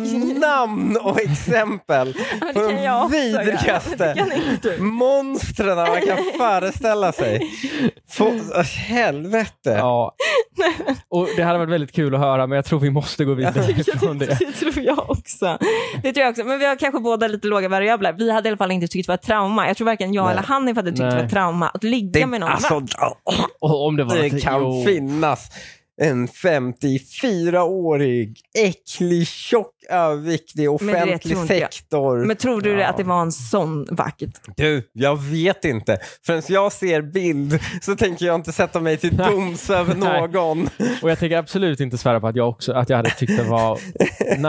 Speaker 3: namn och exempel
Speaker 2: det
Speaker 3: på
Speaker 2: kan jag
Speaker 3: de
Speaker 2: också göra.
Speaker 3: vidrigaste <laughs>
Speaker 2: Kan inte du?
Speaker 3: monstren
Speaker 2: <laughs>
Speaker 3: man kan föreställa sig.
Speaker 2: Mm.
Speaker 3: För, helvete.
Speaker 2: <laughs>
Speaker 1: Ja. Och det hade varit väldigt kul att höra, men jag tror vi måste gå vidare
Speaker 2: <laughs>
Speaker 1: från det.
Speaker 2: Det tror jag också. Det tror jag också. Men vi har kanske båda lite låga variabler. Vi hade i alla fall inte tyckt det var ett trauma. Jag tror varken jag eller Hanif hade tyckt det var
Speaker 1: Nej.
Speaker 2: ett trauma att ligga med
Speaker 3: Det,
Speaker 2: någon.
Speaker 3: alltså,
Speaker 1: Och om det var
Speaker 3: det
Speaker 1: något-
Speaker 3: kan
Speaker 1: jo.
Speaker 3: finnas en 54-årig, äcklig, tjock, överviktig,
Speaker 2: det tror
Speaker 3: offentlig
Speaker 2: inte jag.
Speaker 3: sektor.
Speaker 2: Men tror du att det var en sån vakt?
Speaker 3: Du, jag vet inte. Förrän jag ser bild så tänker jag inte sätta mig till doms över
Speaker 1: Nej.
Speaker 3: någon.
Speaker 1: Och jag tänker absolut inte svära på att jag också att jag hade tyckt det
Speaker 3: <laughs>
Speaker 1: var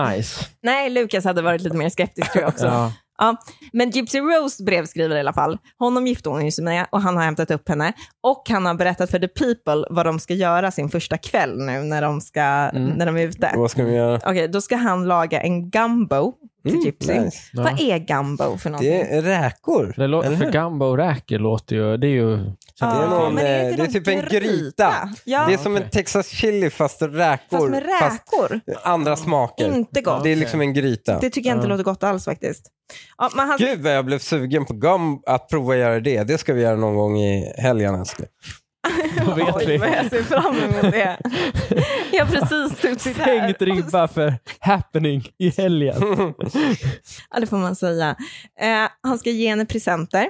Speaker 1: nice.
Speaker 2: Nej, Lukas hade varit lite mer skeptisk tror jag också.
Speaker 1: Ja.
Speaker 2: Ja, men Gypsy Rose brevskriver i alla fall. Honom gifte hon ju sig med och han har hämtat upp henne. Och han har berättat för The People vad de ska göra sin första kväll nu när de, ska, när de är ute.
Speaker 3: <laughs> Mm. Vad ska vi göra?
Speaker 2: Okej, då ska han laga en gumbo till Gypsy.
Speaker 3: Mm, nice.
Speaker 2: Vad är gumbo för någonting?
Speaker 3: Det är räkor.
Speaker 1: Det lå- för gamba och räkor låter ju... Det är ju...
Speaker 2: Ja,
Speaker 3: Det är, någon,
Speaker 2: men
Speaker 3: eh,
Speaker 2: inte
Speaker 3: det är
Speaker 2: någon
Speaker 3: typ en gryta.
Speaker 2: Ja,
Speaker 3: Det är som en
Speaker 1: okej.
Speaker 3: Texas chili fast räkor.
Speaker 2: fast med räkor.
Speaker 3: andra smaker.
Speaker 2: Inte gott.
Speaker 3: Det är liksom en gryta.
Speaker 2: Det alltså- tycker jag inte låter gott alls faktiskt. Ja, men han,
Speaker 3: Gud vad jag blev sugen på gum att prova att göra det. Det ska vi göra någon gång i helgen älskling.
Speaker 1: Då vet
Speaker 2: oj,
Speaker 1: vi.
Speaker 2: vad jag ser fram emot det.
Speaker 1: <laughs>
Speaker 2: Jag har precis suttit här.
Speaker 1: Tänkt ribba för happening i
Speaker 2: <laughs>
Speaker 1: helgen.
Speaker 2: Ja, det får man säga. Eh, han ska ge henne presenter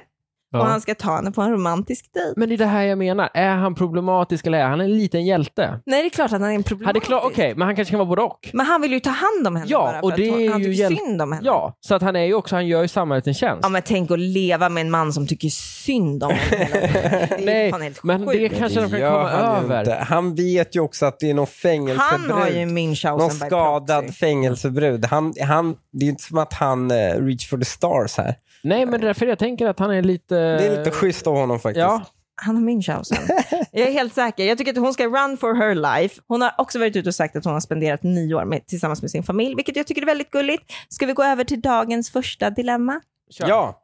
Speaker 2: och
Speaker 1: Ja.
Speaker 2: han ska ta henne på en romantisk dejt.
Speaker 1: Men det är det här jag menar. Är han problematisk eller är han en liten hjälte?
Speaker 2: Nej, det är klart att han är en
Speaker 1: Hade
Speaker 2: problematisk.
Speaker 1: klar, Okej, men han kanske kan vara både och.
Speaker 2: Men han vill ju ta hand om henne
Speaker 1: Ja,
Speaker 2: bara för
Speaker 1: och det
Speaker 2: att hon,
Speaker 1: är
Speaker 2: han
Speaker 1: ju
Speaker 2: tycker
Speaker 1: hjälp-
Speaker 2: synd om henne.
Speaker 1: Ja, så att han är ju också, han gör ju samhället en tjänst.
Speaker 2: Ja, men tänk att leva med en man som tycker synd
Speaker 1: <laughs>
Speaker 2: om henne. Det är
Speaker 1: Nej,
Speaker 2: fan helt
Speaker 1: men det
Speaker 2: sjukt.
Speaker 1: kanske de kan
Speaker 3: gör
Speaker 1: komma
Speaker 3: han ju
Speaker 1: över.
Speaker 3: inte. Han vet ju också att det är någon
Speaker 2: Han
Speaker 3: fängelsebrud.
Speaker 2: har ju Münchhausen
Speaker 3: Någon
Speaker 2: by
Speaker 3: skadad
Speaker 2: proxy.
Speaker 3: fängelsebrud. Han, han, det är ju inte som att han eh, reach for the stars här.
Speaker 1: Nej, men det är därför jag tänker att han är lite...
Speaker 3: Det är lite schysst av honom faktiskt.
Speaker 1: Eh, Ja,
Speaker 2: Han har Münchhausen. Jag är helt säker. Jag tycker att hon ska run for her life. Hon har också varit ute och sagt att hon har spenderat nio år med, tillsammans med sin familj, vilket jag tycker är väldigt gulligt. Ska vi gå över till dagens första dilemma?
Speaker 1: kör.
Speaker 3: ja.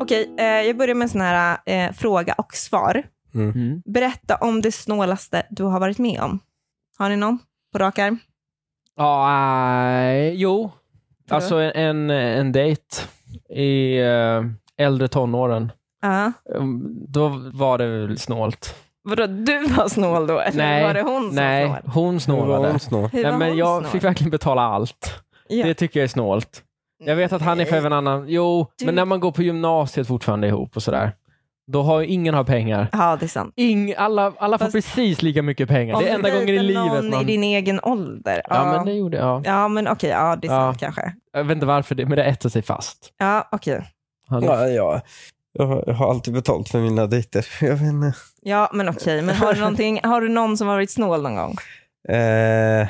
Speaker 2: Okej, eh, jag börjar med en sån här eh, fråga och svar.
Speaker 3: Mm.
Speaker 1: Mm.
Speaker 2: Berätta om det snålaste du har varit med om. Har ni någon på rak arm?
Speaker 1: Ja, nej, eh, jo.
Speaker 2: Vadå?
Speaker 1: Alltså en, en, en dejt i eh, äldre tonåren.
Speaker 2: Ja.
Speaker 1: Mm, Då var det väl snålt.
Speaker 2: Vadå, du var snål då? Eller
Speaker 1: Nej,
Speaker 2: var det hon som
Speaker 1: Nej,
Speaker 2: var snål?
Speaker 1: hon snålade.
Speaker 3: snål?
Speaker 2: Hur
Speaker 1: Nej,
Speaker 2: var
Speaker 1: men
Speaker 2: hon
Speaker 1: jag
Speaker 2: snål?
Speaker 1: fick verkligen betala allt.
Speaker 2: Ja.
Speaker 1: Det tycker jag är snålt. Jag vet att han är för även annan. Jo,
Speaker 2: Du-
Speaker 1: men när man går på gymnasiet fortfarande ihop och sådär. Då har ju ingen har pengar.
Speaker 2: Ja, det är sant.
Speaker 1: Ing, alla alla får
Speaker 2: Fast-
Speaker 1: precis lika mycket pengar.
Speaker 2: Om
Speaker 1: Det är
Speaker 2: du
Speaker 1: enda gången i
Speaker 2: dejtar
Speaker 1: livet
Speaker 2: någon i
Speaker 1: man...
Speaker 2: din egen ålder.
Speaker 1: Ja, men det gjorde jag.
Speaker 2: ja, men okej, ja, det är
Speaker 1: Ja.
Speaker 2: sant kanske.
Speaker 1: Jag vet inte varför, det, men det äter sig fast.
Speaker 2: Ja, okej.
Speaker 1: Han,
Speaker 3: Ja, ja. Jag har- jag har alltid betalt för mina dejter. <laughs> Jag vet inte.
Speaker 2: Ja, men okej. Men
Speaker 3: <laughs>
Speaker 2: har du, någonting- har du någon som varit snål någon gång?
Speaker 3: Eh,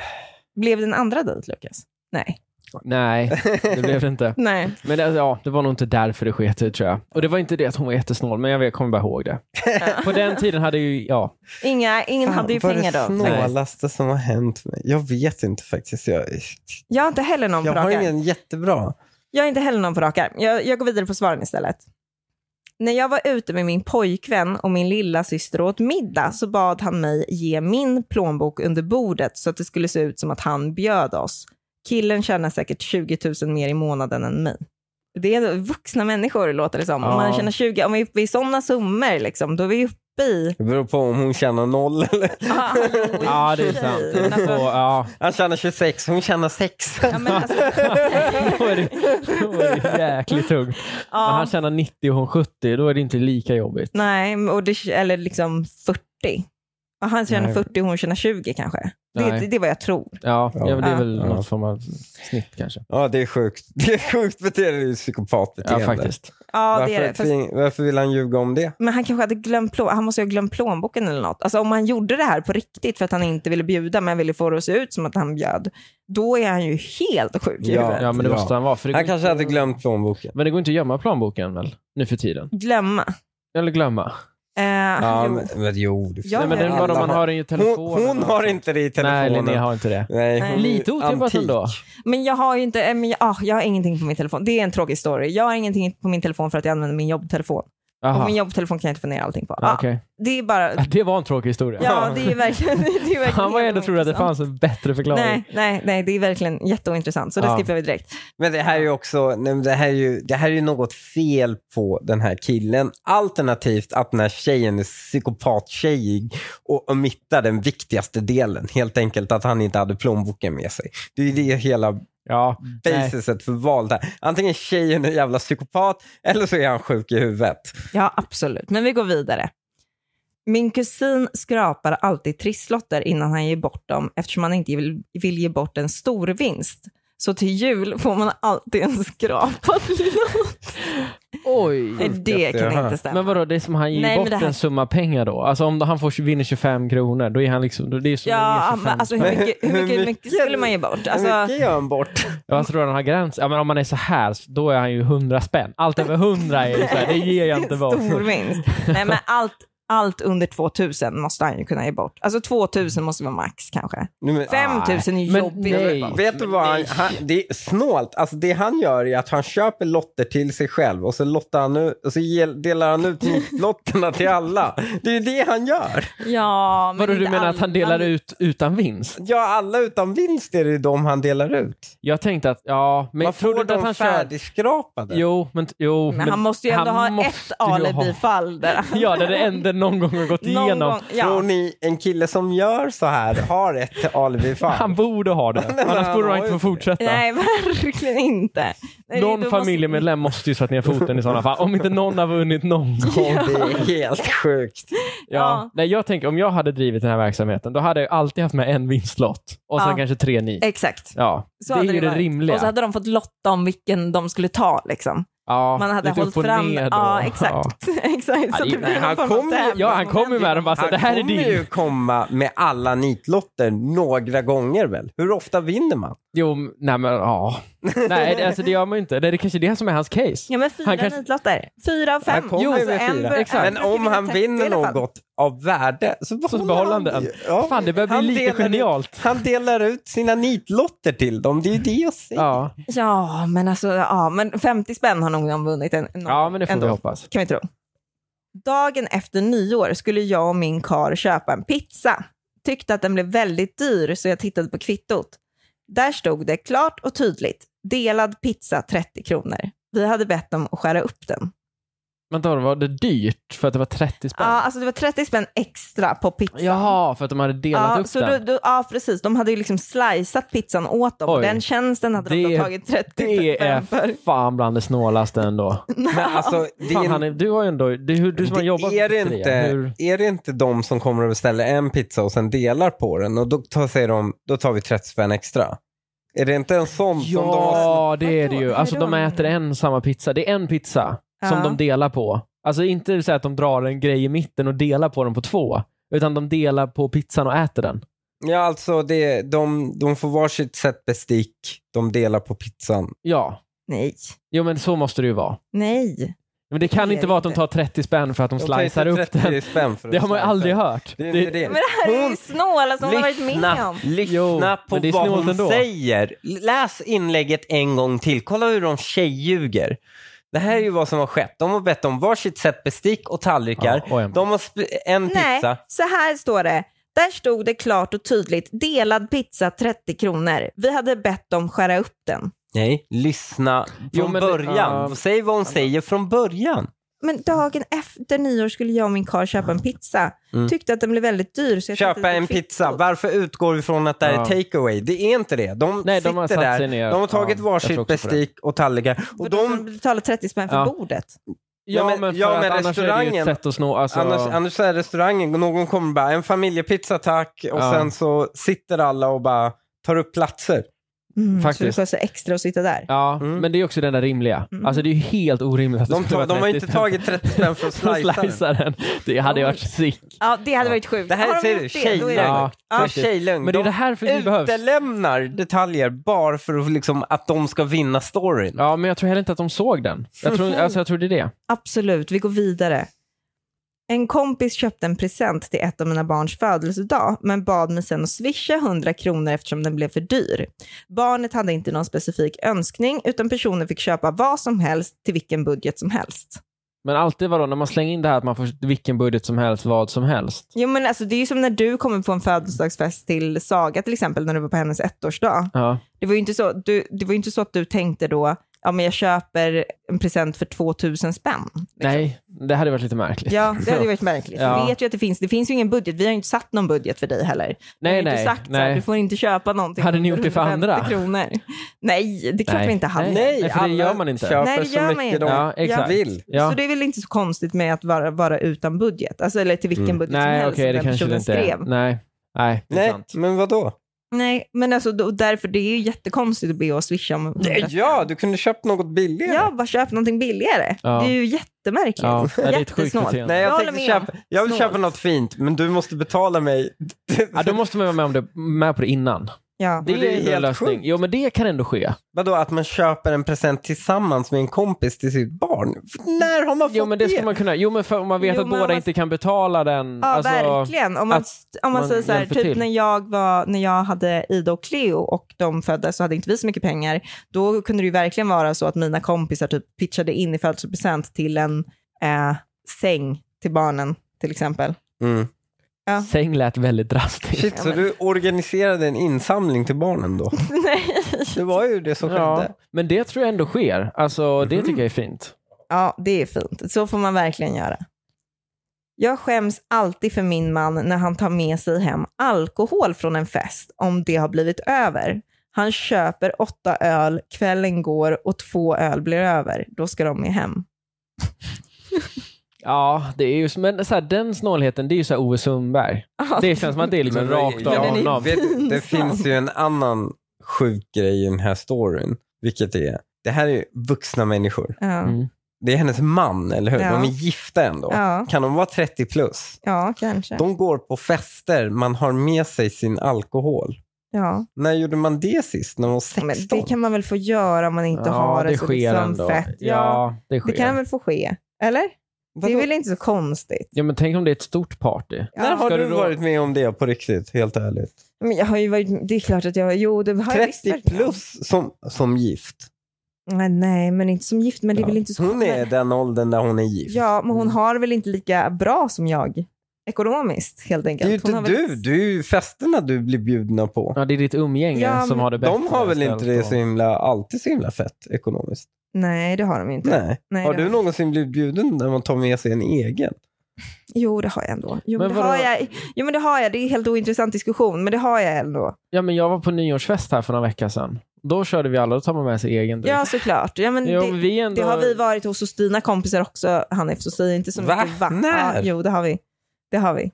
Speaker 2: Blev det en andra dejt, Lukas? Nej.
Speaker 1: Nej,
Speaker 3: <laughs>
Speaker 1: det blev det inte.
Speaker 2: Nej.
Speaker 1: Men det, ja, det var nog inte därför det sket sig, tror jag. Och det var inte det att hon var jättesnål, men jag vet- kommer bara ihåg det. På den tiden hade jag ju, ja.
Speaker 2: Inga, ingen hade ju
Speaker 3: vad
Speaker 2: pengar
Speaker 3: det
Speaker 2: då. faktiskt.
Speaker 3: snålaste som har hänt mig? Jag vet inte faktiskt. Jag,
Speaker 2: Jag har inte heller någon
Speaker 3: jag
Speaker 2: på
Speaker 3: har
Speaker 2: rak arm.
Speaker 3: ingen jättebra.
Speaker 2: Jag är inte heller någon på rak arm. Jag, jag går vidare på svaren istället. När jag var ute med min pojkvän och min lilla syster åt middag så bad han mig ge min plånbok under bordet så att det skulle se ut som att han bjöd oss. Killen tjänar säkert 20 000 mer i månaden än mig. Det är vuxna människor låter det som. Om
Speaker 1: Ja.
Speaker 2: man tjänar 20, om vi är uppe i sådana summor liksom, då är vi uppe i...
Speaker 3: Det beror på om hon tjänar noll <laughs> eller...
Speaker 2: Ja,
Speaker 1: Ja, det är sant. Det är så, ja.
Speaker 3: Han tjänar 26, hon tjänar 6.
Speaker 2: <laughs> Ja, men alltså,
Speaker 1: <laughs> Då är det, då är det jäkligt tungt.
Speaker 2: ja.
Speaker 1: Men han tjänar 90 och hon 70, då är det inte lika jobbigt.
Speaker 2: Nej, men- och det, eller liksom 40. Ja, han tjänar
Speaker 1: Nej.
Speaker 2: 40 och hon tjänar 20 kanske. Det,
Speaker 1: Nej.
Speaker 2: det, det är vad jag tror.
Speaker 1: Ja, ja, men det är väl
Speaker 3: Ja.
Speaker 1: något form av snitt kanske.
Speaker 3: Ja, det är sjukt. Det är sjukt beteende. Det är ju psykopatbeteende.
Speaker 1: Ja, faktiskt.
Speaker 2: Ja, det är
Speaker 3: varför,
Speaker 2: det. Fast,
Speaker 3: tving- varför vill han ljuga om det?
Speaker 2: men han kanske hade glömt plånboken. Han måste ju ha glömt plånboken eller något. Alltså om han gjorde det här på riktigt för att han inte ville bjuda men ville få det att se ut som att han bjöd. Då är han ju helt sjuk i
Speaker 3: Ja.
Speaker 2: huvudet.
Speaker 1: Ja, men det
Speaker 3: Ja.
Speaker 1: måste han vara. För det går
Speaker 3: Han
Speaker 1: inte,
Speaker 3: kanske hade glömt plånboken.
Speaker 1: men det går inte att gömma planboken väl, nu för tiden?
Speaker 2: Glömma.
Speaker 1: Eller glömma?
Speaker 2: Eh,
Speaker 3: Ja,
Speaker 2: jo.
Speaker 3: men, men jo. det-
Speaker 2: Ja,
Speaker 1: Nej, men det är bara om man har den i
Speaker 3: hon,
Speaker 1: telefonen.
Speaker 3: hon har inte det i
Speaker 1: Nej,
Speaker 3: telefonen.
Speaker 1: Linnea har inte det.
Speaker 3: Nej, hon är
Speaker 1: Lite otippat
Speaker 3: antik.
Speaker 1: ändå.
Speaker 2: Men jag har ju inte, eh, men jag, ah, jag har ingenting på min telefon. Det är en tråkig story. Jag har ingenting på min telefon för att jag använder min jobbtelefon. Och
Speaker 1: Jaha.
Speaker 2: min jobbtelefon kan jag inte få ner allting på.
Speaker 1: Ja,
Speaker 2: Ah,
Speaker 1: okej.
Speaker 2: Det är bara,
Speaker 1: Det var en tråkig historia. <laughs>
Speaker 2: Ja, det är verkligen... Det är verkligen
Speaker 1: Han var ändå trodde att det
Speaker 2: jätteintressant.
Speaker 1: fanns en bättre förklaring.
Speaker 2: Nej, nej, nej, det är verkligen jätteointressant. Så det
Speaker 1: Ja.
Speaker 2: skippar vi direkt.
Speaker 3: Men det här är ju också, nej, men det här är ju, det här är ju något fel på den här killen. Alternativt att den här tjejen är psykopattjejig och omittar den viktigaste delen. Helt enkelt att han inte hade plånboken med sig. Det är ju det hela
Speaker 1: Ja, nej.
Speaker 3: basiset för valet här. Antingen tjejen är en jävla psykopat eller så är han sjuk i huvudet.
Speaker 2: Ja, absolut. Men vi går vidare. Min kusin skrapar alltid trisslotter innan han ger bort dem eftersom han inte vill, vill ge bort en stor vinst. Så till jul får man alltid en skrapad <laughs> lott. Nej,
Speaker 1: Oj.
Speaker 2: det kan inte stämma.
Speaker 1: Men vadå, det är som han ger
Speaker 2: Nej, men
Speaker 1: bort
Speaker 2: det här-
Speaker 1: en summa pengar då? Alltså om han får, vinner 25 kronor, då är han liksom... Då det är som
Speaker 2: Ja,
Speaker 1: att ge 25.
Speaker 2: men alltså hur mycket, hur mycket, hur
Speaker 3: Hur
Speaker 2: mycket
Speaker 3: mycket-
Speaker 2: skulle man ge bort?
Speaker 3: Hur
Speaker 2: Alltså,
Speaker 3: mycket gör han bort?
Speaker 1: Jag tror han har gräns. Ja, men om man är så här, då är han ju 100 spänn. Allt över 100 är ju så här, <laughs> det ger jag inte bort.
Speaker 2: <laughs> stor vinst. Nej,
Speaker 1: <laughs>
Speaker 2: men allt, allt under 2000 måste han ju kunna ge bort. Alltså 2000 måste vara max kanske.
Speaker 3: Nej, men-
Speaker 2: 5000 är
Speaker 1: men
Speaker 2: jobbigt. att ge
Speaker 1: nej.
Speaker 2: bort.
Speaker 3: Vet du vad? Han, han, det är snålt. Alltså det han gör är att han köper lotter till sig själv och så, lottar han ut, och så ge- delar han
Speaker 1: <laughs>
Speaker 3: ut lotterna till alla. Det är ju det han gör.
Speaker 2: Ja, men
Speaker 1: Vadå, du
Speaker 2: inte
Speaker 1: menar att han delar
Speaker 2: alla-
Speaker 1: ut utan vinst?
Speaker 3: Ja, alla utan vinst är det ju de han delar ut.
Speaker 1: Jag tänkte att, ja, men
Speaker 3: Man
Speaker 1: tror du
Speaker 3: får
Speaker 1: inte att
Speaker 3: dem
Speaker 1: han kör...
Speaker 3: färdigskrapade.
Speaker 1: Jo, men... Jo,
Speaker 2: Men han måste ju ändå ha ett
Speaker 1: måste ju ha-
Speaker 2: alibi-fall där.
Speaker 1: <laughs>
Speaker 2: han-
Speaker 1: Ja, det är det enda någon gång har gått
Speaker 2: någon
Speaker 1: igenom.
Speaker 2: gång- ja.
Speaker 3: Tror ni en kille som gör så här har ett
Speaker 1: Han
Speaker 3: alibifall?
Speaker 1: borde ha
Speaker 3: <laughs>
Speaker 1: det,
Speaker 3: men
Speaker 1: annars
Speaker 3: han
Speaker 1: borde
Speaker 3: har
Speaker 1: han inte
Speaker 3: ju
Speaker 1: få fortsätta.
Speaker 2: Nej, <laughs> verkligen inte. Nej,
Speaker 1: någon
Speaker 2: då måste-
Speaker 1: familjemedlem måste ju sätta ner foten i sådana fall. Om inte någon har vunnit någon
Speaker 2: <laughs>
Speaker 1: gång.
Speaker 3: Ja. Det är helt sjukt.
Speaker 1: Ja.
Speaker 2: Ja.
Speaker 1: Nej, jag tänker om jag hade drivit den här verksamheten, då hade jag alltid haft med en vinstlott och sen
Speaker 2: Ja.
Speaker 1: kanske tre ni.
Speaker 2: Exakt.
Speaker 1: Ja,
Speaker 2: Så
Speaker 1: det
Speaker 2: hade
Speaker 1: är ju det
Speaker 2: varit.
Speaker 1: rimliga.
Speaker 2: Och så hade de fått lotta om vilken de skulle ta. Liksom.
Speaker 1: ja,
Speaker 2: Man hade
Speaker 1: lite upp
Speaker 2: hållit
Speaker 1: och
Speaker 2: fram...
Speaker 1: ner då.
Speaker 2: Ja, exakt.
Speaker 1: Ja.
Speaker 2: <laughs> exakt. Så
Speaker 1: det-
Speaker 2: det blir
Speaker 1: nej,
Speaker 2: någon
Speaker 3: han
Speaker 2: form av
Speaker 3: kom ju-
Speaker 2: tävling. Alltså,
Speaker 1: Ja, han kom ju med dem bara så
Speaker 3: Han
Speaker 1: det här är
Speaker 3: kommer
Speaker 1: din.
Speaker 3: ju komma med alla nitlotter några gånger väl? Hur ofta vinner man?
Speaker 1: Jo, m- nej men
Speaker 2: <laughs>
Speaker 1: ja. Nej, det, alltså, det gör man ju inte. Det är kanske det som är hans case.
Speaker 2: Ja, men fyra
Speaker 1: Han kanske-
Speaker 2: nitlotter. Fyra av fem.
Speaker 3: Han kommer
Speaker 2: Alltså,
Speaker 3: med
Speaker 2: en
Speaker 3: fyra.
Speaker 2: för-
Speaker 1: Exakt.
Speaker 2: en
Speaker 3: Men
Speaker 2: för
Speaker 3: om han
Speaker 2: Kevin
Speaker 3: vinner
Speaker 2: Tacko i alla fall.
Speaker 3: något av värde så behåller,
Speaker 1: Så behåller han den.
Speaker 3: ju. Ja.
Speaker 1: Fan, det börjar bli
Speaker 3: Han
Speaker 1: lite
Speaker 3: delar ut-
Speaker 1: genialt.
Speaker 3: Han delar ut sina nitlotter till dem. Det är ju det jag säger.
Speaker 1: Ja.
Speaker 2: Ja, men alltså, ja, men 50 spänn har nog någon vunnit. En, någon,
Speaker 1: ja, men det får
Speaker 2: ändå,
Speaker 1: vi hoppas.
Speaker 2: Kan vi tro. Dagen efter nyår skulle jag och min kar köpa en pizza. Tyckte att den blev väldigt dyr så jag tittade på kvittot. Där stod det klart och tydligt Delad pizza 30 kronor. Vi hade bett dem att skära upp den.
Speaker 1: Men då var det dyrt för att det var 30
Speaker 2: Ja,
Speaker 1: spänn?
Speaker 2: alltså det var 30 spänn extra på pizzan.
Speaker 1: Jaha, för att de hade delat
Speaker 2: ja,
Speaker 1: upp
Speaker 2: så
Speaker 1: den.
Speaker 2: då, då, ja, precis. De hade ju liksom slicat pizzan åt dem.
Speaker 1: Oj.
Speaker 2: Och den tjänsten hade de
Speaker 1: Det-
Speaker 2: då tagit 30
Speaker 1: Det är
Speaker 2: spänn för.
Speaker 1: fan bland det snålaste ändå.
Speaker 3: Men alltså, <laughs> det
Speaker 1: Fan,
Speaker 3: är,
Speaker 1: Hanif, du har ju ändå, det är hur- du som har
Speaker 3: det
Speaker 1: jobbat
Speaker 3: är,
Speaker 1: på
Speaker 3: det
Speaker 1: pizzeria,
Speaker 3: inte,
Speaker 1: hur-
Speaker 3: är det inte de som kommer och beställer en pizza och sen delar på den och då tar, säger de, då tar vi 30 spänn extra? Är det inte en sån som de har...
Speaker 1: Ja, det är det ju.
Speaker 2: Vadå?
Speaker 1: Alltså
Speaker 2: Hur
Speaker 1: de
Speaker 2: då?
Speaker 1: äter en samma pizza. Det är en pizza som
Speaker 2: Ja.
Speaker 1: de delar på. Alltså inte så att de drar en grej i mitten och delar på den på två. Utan de delar på pizzan och äter den.
Speaker 3: Ja, alltså det, de, de får varsitt sätt bestick, de delar på pizzan.
Speaker 1: Ja,
Speaker 2: Nej,
Speaker 1: jo men så måste det ju vara.
Speaker 2: nej.
Speaker 1: Men det kan
Speaker 2: Det är
Speaker 1: inte vara att de
Speaker 2: inte.
Speaker 1: tar 30 spänn för att de,
Speaker 3: De tar ju
Speaker 1: slicear upp
Speaker 3: 30
Speaker 1: den.
Speaker 3: Spänn för
Speaker 1: <laughs>
Speaker 3: att
Speaker 1: Det har man ju
Speaker 3: slicea.
Speaker 1: aldrig hört.
Speaker 3: Det är inte
Speaker 2: Men det här är ju
Speaker 3: Hon-
Speaker 2: snåla som hon har varit med om.
Speaker 3: lyssna
Speaker 1: Jo,
Speaker 3: på
Speaker 1: men det är
Speaker 3: vad
Speaker 1: snålt
Speaker 3: hon
Speaker 1: ändå.
Speaker 3: säger. Läs inlägget en gång till. Kolla hur de tjejljuger. Det här är ju vad som har skett. De har bett om varsitt sätt bestick och tallrikar.
Speaker 1: Ja, och en-
Speaker 3: de har sp- en pizza.
Speaker 2: Nej, så här står det. Där stod det klart och tydligt, delad pizza 30 kronor. Vi hade bett dem skära upp den.
Speaker 3: Nej, lyssna
Speaker 1: Jo,
Speaker 3: från
Speaker 1: men det-
Speaker 3: början.
Speaker 1: ja.
Speaker 3: Och Säg vad hon säger från början.
Speaker 2: Men dagen efter nyår skulle jag och min karl köpa en pizza.
Speaker 3: Mm.
Speaker 2: Tyckte att den blev väldigt dyr. Så jag tänkte
Speaker 3: Köpa
Speaker 2: att vi
Speaker 3: en
Speaker 2: kvitto.
Speaker 3: pizza. Varför utgår vi från att det här
Speaker 1: Ja.
Speaker 3: är takeaway? Det är inte det. De
Speaker 1: Nej,
Speaker 3: sitter
Speaker 1: de har satt
Speaker 3: där.
Speaker 1: sig ner.
Speaker 3: De har tagit
Speaker 1: Ja, jag tror
Speaker 3: varsitt
Speaker 1: också på det.
Speaker 3: bestick och tallrikar. Och
Speaker 2: Och de
Speaker 3: de,
Speaker 2: betalade 30 spänn för
Speaker 1: Ja.
Speaker 2: bordet.
Speaker 1: Ja, men,
Speaker 3: men-
Speaker 1: för
Speaker 3: ja,
Speaker 1: att
Speaker 3: men
Speaker 1: annars är det ju ett
Speaker 3: restaurangen-
Speaker 1: sätt att snå. Alltså,
Speaker 3: Annars, annars är restaurangen, någon kommer bara en familjepizza tack och
Speaker 1: Ja.
Speaker 3: sen så sitter alla och bara tar upp platser.
Speaker 2: Mm, Så det
Speaker 1: Faktiskt.
Speaker 2: kostar extra att sitta där.
Speaker 1: Ja,
Speaker 3: Mm.
Speaker 1: men det är också den där rimliga.
Speaker 2: Mm.
Speaker 1: Alltså det är ju helt orimligt att det
Speaker 3: De,
Speaker 1: skulle
Speaker 3: tar,
Speaker 1: vara
Speaker 3: de har
Speaker 1: 30
Speaker 3: inte
Speaker 1: <laughs>
Speaker 3: tagit 30 spänn för att
Speaker 1: spänn för att
Speaker 3: slicea den.
Speaker 1: slicea den. Det hade ju varit sick.
Speaker 2: Ja, det hade varit sjukt.
Speaker 3: Det här
Speaker 2: Har de
Speaker 3: ser
Speaker 2: gjort
Speaker 3: du,
Speaker 2: det, då är det-
Speaker 3: tjejer.
Speaker 1: Ja,
Speaker 3: Ja,
Speaker 1: faktiskt.
Speaker 3: tjejlugn.
Speaker 1: Men det är det här för det
Speaker 3: de
Speaker 1: behövs.
Speaker 3: utelämnar detaljer bara för att, liksom, att de ska vinna storyn.
Speaker 1: Ja, men jag tror heller inte att de såg den. Jag tror, alltså, jag tror det är det.
Speaker 2: Absolut, vi går vidare. En kompis köpte en present till ett av mina barns födelsedag, men bad mig sen att swisha 100 kronor eftersom den blev för dyr. Barnet hade inte någon specifik önskning, utan personen fick köpa vad som helst till vilken budget som helst.
Speaker 1: Men alltid vadå, när man slänger in det här att man får vilken budget som helst, vad som helst.
Speaker 2: Jo, men alltså, det är ju som när du kommer på en födelsedagsfest till Saga till exempel, när du var på hennes ettårsdag.
Speaker 1: Ja.
Speaker 2: Det var ju inte så, du, det var ju inte så att du tänkte då, ja men jag köper en present för 2000 spänn.
Speaker 3: Liksom.
Speaker 1: Nej, det hade varit lite märkligt.
Speaker 2: <laughs> Ja, det hade ju varit märkligt.
Speaker 1: Ja.
Speaker 2: Vi vet ju att det finns, det finns ju ingen budget. Vi har ju inte satt någon budget för dig heller. Vi
Speaker 1: nej,
Speaker 2: har ju inte
Speaker 1: nej.
Speaker 2: sagt Så här,
Speaker 1: nej.
Speaker 2: du får inte köpa någonting.
Speaker 1: Hade ni gjort det för
Speaker 2: 150
Speaker 1: andra?
Speaker 2: Kronor. Nej, det är klart
Speaker 1: Nej.
Speaker 2: vi inte hade.
Speaker 1: Nej, för det
Speaker 3: alla
Speaker 1: gör man inte.
Speaker 3: köper
Speaker 2: Nej, det
Speaker 3: så
Speaker 2: gör man
Speaker 3: mycket
Speaker 2: inte.
Speaker 3: de
Speaker 1: Ja, exakt.
Speaker 3: vill.
Speaker 1: Ja.
Speaker 2: Så det är väl inte så konstigt med att vara, vara utan budget, alltså, eller till vilken budget som
Speaker 1: Nej,
Speaker 2: helst
Speaker 1: okej,
Speaker 2: som
Speaker 1: det
Speaker 2: den
Speaker 1: kanske det
Speaker 2: personen
Speaker 1: inte är.
Speaker 2: skrev.
Speaker 1: Nej, nej. det är
Speaker 3: Nej,
Speaker 1: sant.
Speaker 3: men vadå?
Speaker 2: Nej, men alltså, då, därför det är ju jättekonstigt att be oss swisha om 100
Speaker 3: Nej, ja, du kunde köpt något billigare.
Speaker 2: Ja, bara köp någonting billigare.
Speaker 1: Ja.
Speaker 2: Det är ju jättemärkligt.
Speaker 1: Ja, det är ett sjukt
Speaker 2: <laughs> Jättesnålt.
Speaker 1: beteende.
Speaker 3: Nej, jag,
Speaker 2: Jag
Speaker 3: tänkte
Speaker 2: håller med.
Speaker 3: köpa, jag vill
Speaker 2: Snålt.
Speaker 3: köpa något fint, men du måste betala mig.
Speaker 1: Ja, då måste man vara med, om det, med på det innan.
Speaker 2: Ja.
Speaker 1: Det,
Speaker 3: Men det är
Speaker 1: är ju en
Speaker 3: helt
Speaker 1: lösning.
Speaker 3: sjukt.
Speaker 1: Jo, men det kan ändå ske.
Speaker 3: Vadå, att man köper en present tillsammans med en kompis till sitt barn? För När har man fått
Speaker 1: Jo, men det
Speaker 3: det?
Speaker 1: ska man kunna. Jo, men för om man vet
Speaker 2: Jo,
Speaker 1: att
Speaker 2: men
Speaker 1: båda
Speaker 2: man-
Speaker 1: inte kan betala den.
Speaker 2: Ja,
Speaker 1: alltså,
Speaker 2: verkligen. Om man, om man,
Speaker 1: man
Speaker 2: säger så här,
Speaker 1: hjälper
Speaker 2: typ
Speaker 1: till.
Speaker 2: när jag, var, när jag hade Ida och Cleo och de föddes så hade inte vi så mycket pengar. Då kunde det ju verkligen vara så att mina kompisar typ pitchade in i födelsedagspresent till en eh, säng till barnen
Speaker 1: <laughs>
Speaker 2: till exempel. <laughs>
Speaker 3: Mm.
Speaker 2: Ja.
Speaker 1: Säng lät väldigt drastiskt.
Speaker 3: Shit, så du organiserade en insamling till barnen då?
Speaker 2: Nej.
Speaker 3: Det var ju det som
Speaker 1: Ja,
Speaker 3: skedde.
Speaker 1: men det tror jag ändå sker. Alltså, det tycker jag är fint.
Speaker 2: Ja, det är fint. Så får man verkligen göra. Jag skäms alltid för min man när han tar med sig hem alkohol från en fest om det har blivit över. Han köper åtta öl, kvällen går och två öl blir över. Då ska de med hem.
Speaker 1: Ja, det är ju, men så här, den snålheten, det är ju så här Ove Sundberg. Det känns som att det är liksom
Speaker 3: Men vad-
Speaker 1: rakt
Speaker 3: ja,
Speaker 1: av
Speaker 2: Alltså, men det-
Speaker 1: honom.
Speaker 3: Vet,
Speaker 2: <laughs>
Speaker 3: det
Speaker 2: Pinsam.
Speaker 3: finns ju en annan sjuk grej i den här storyn, vilket är, det här är ju vuxna människor.
Speaker 2: Ja,
Speaker 1: Mm.
Speaker 3: Det är hennes man, eller hur?
Speaker 2: Ja.
Speaker 3: De är gifta ändå.
Speaker 2: ja,
Speaker 3: Kan de vara 30 plus?
Speaker 2: ja kanske.
Speaker 3: De går på fester, man har med sig sin alkohol.
Speaker 2: Ja.
Speaker 3: När gjorde man det sist? När man var
Speaker 2: Men
Speaker 3: 16?
Speaker 2: det kan man väl få göra om man inte har det, så liksom fett. Ja,
Speaker 1: Ja, det sker.
Speaker 2: det kan väl få ske. Eller? Det är väl inte så konstigt?
Speaker 1: Ja, men tänk om det är ett stort party.
Speaker 3: När har
Speaker 1: Ska
Speaker 3: du
Speaker 1: du då-
Speaker 3: varit med om det på riktigt, helt ärligt?
Speaker 2: Men jag har ju varit, det är klart att jag, jo det har jag visst
Speaker 3: 30
Speaker 2: varit med om.
Speaker 3: plus som, som gift.
Speaker 2: Nej, nej, men inte som gift. Men det är väl inte så
Speaker 3: Hon är
Speaker 2: men-
Speaker 3: den åldern där hon är gift.
Speaker 2: Ja, men hon har väl inte lika bra som jag. ekonomiskt helt
Speaker 3: Det är
Speaker 2: enkelt.
Speaker 3: ju
Speaker 2: Hon
Speaker 3: inte
Speaker 2: har väl-
Speaker 3: du, det är ju festerna du blir bjudna på.
Speaker 1: Ja, det är ditt umgänge
Speaker 2: Ja,
Speaker 1: som har det bättre.
Speaker 3: De har väl
Speaker 1: ställt
Speaker 3: inte det
Speaker 1: då.
Speaker 3: så himla, alltid så himla fett ekonomiskt?
Speaker 2: Nej, det har de ju inte.
Speaker 3: Nej.
Speaker 2: Nej,
Speaker 3: Har
Speaker 2: det
Speaker 3: du någonsin blivit bjuden när man tar med sig en egen?
Speaker 2: Jo, det har jag ändå. Jo men,
Speaker 1: Men
Speaker 2: det
Speaker 1: vadå?
Speaker 2: har jag. jo, men det har jag. Det är en helt ointressant diskussion, men det har jag ändå.
Speaker 1: Ja, men jag var på nyårsfest här för några veckor sedan. Då körde vi alla, då tar man med sig egen dryck.
Speaker 2: Ja, såklart. Ja, men
Speaker 1: Jo,
Speaker 2: det,
Speaker 1: men vi är ändå...
Speaker 2: det har vi varit hos hos dina kompisar också, Hanif, så säg inte så
Speaker 3: Va?
Speaker 2: mycket va.
Speaker 3: När?
Speaker 2: Ja, jo, det har vi. Det har vi.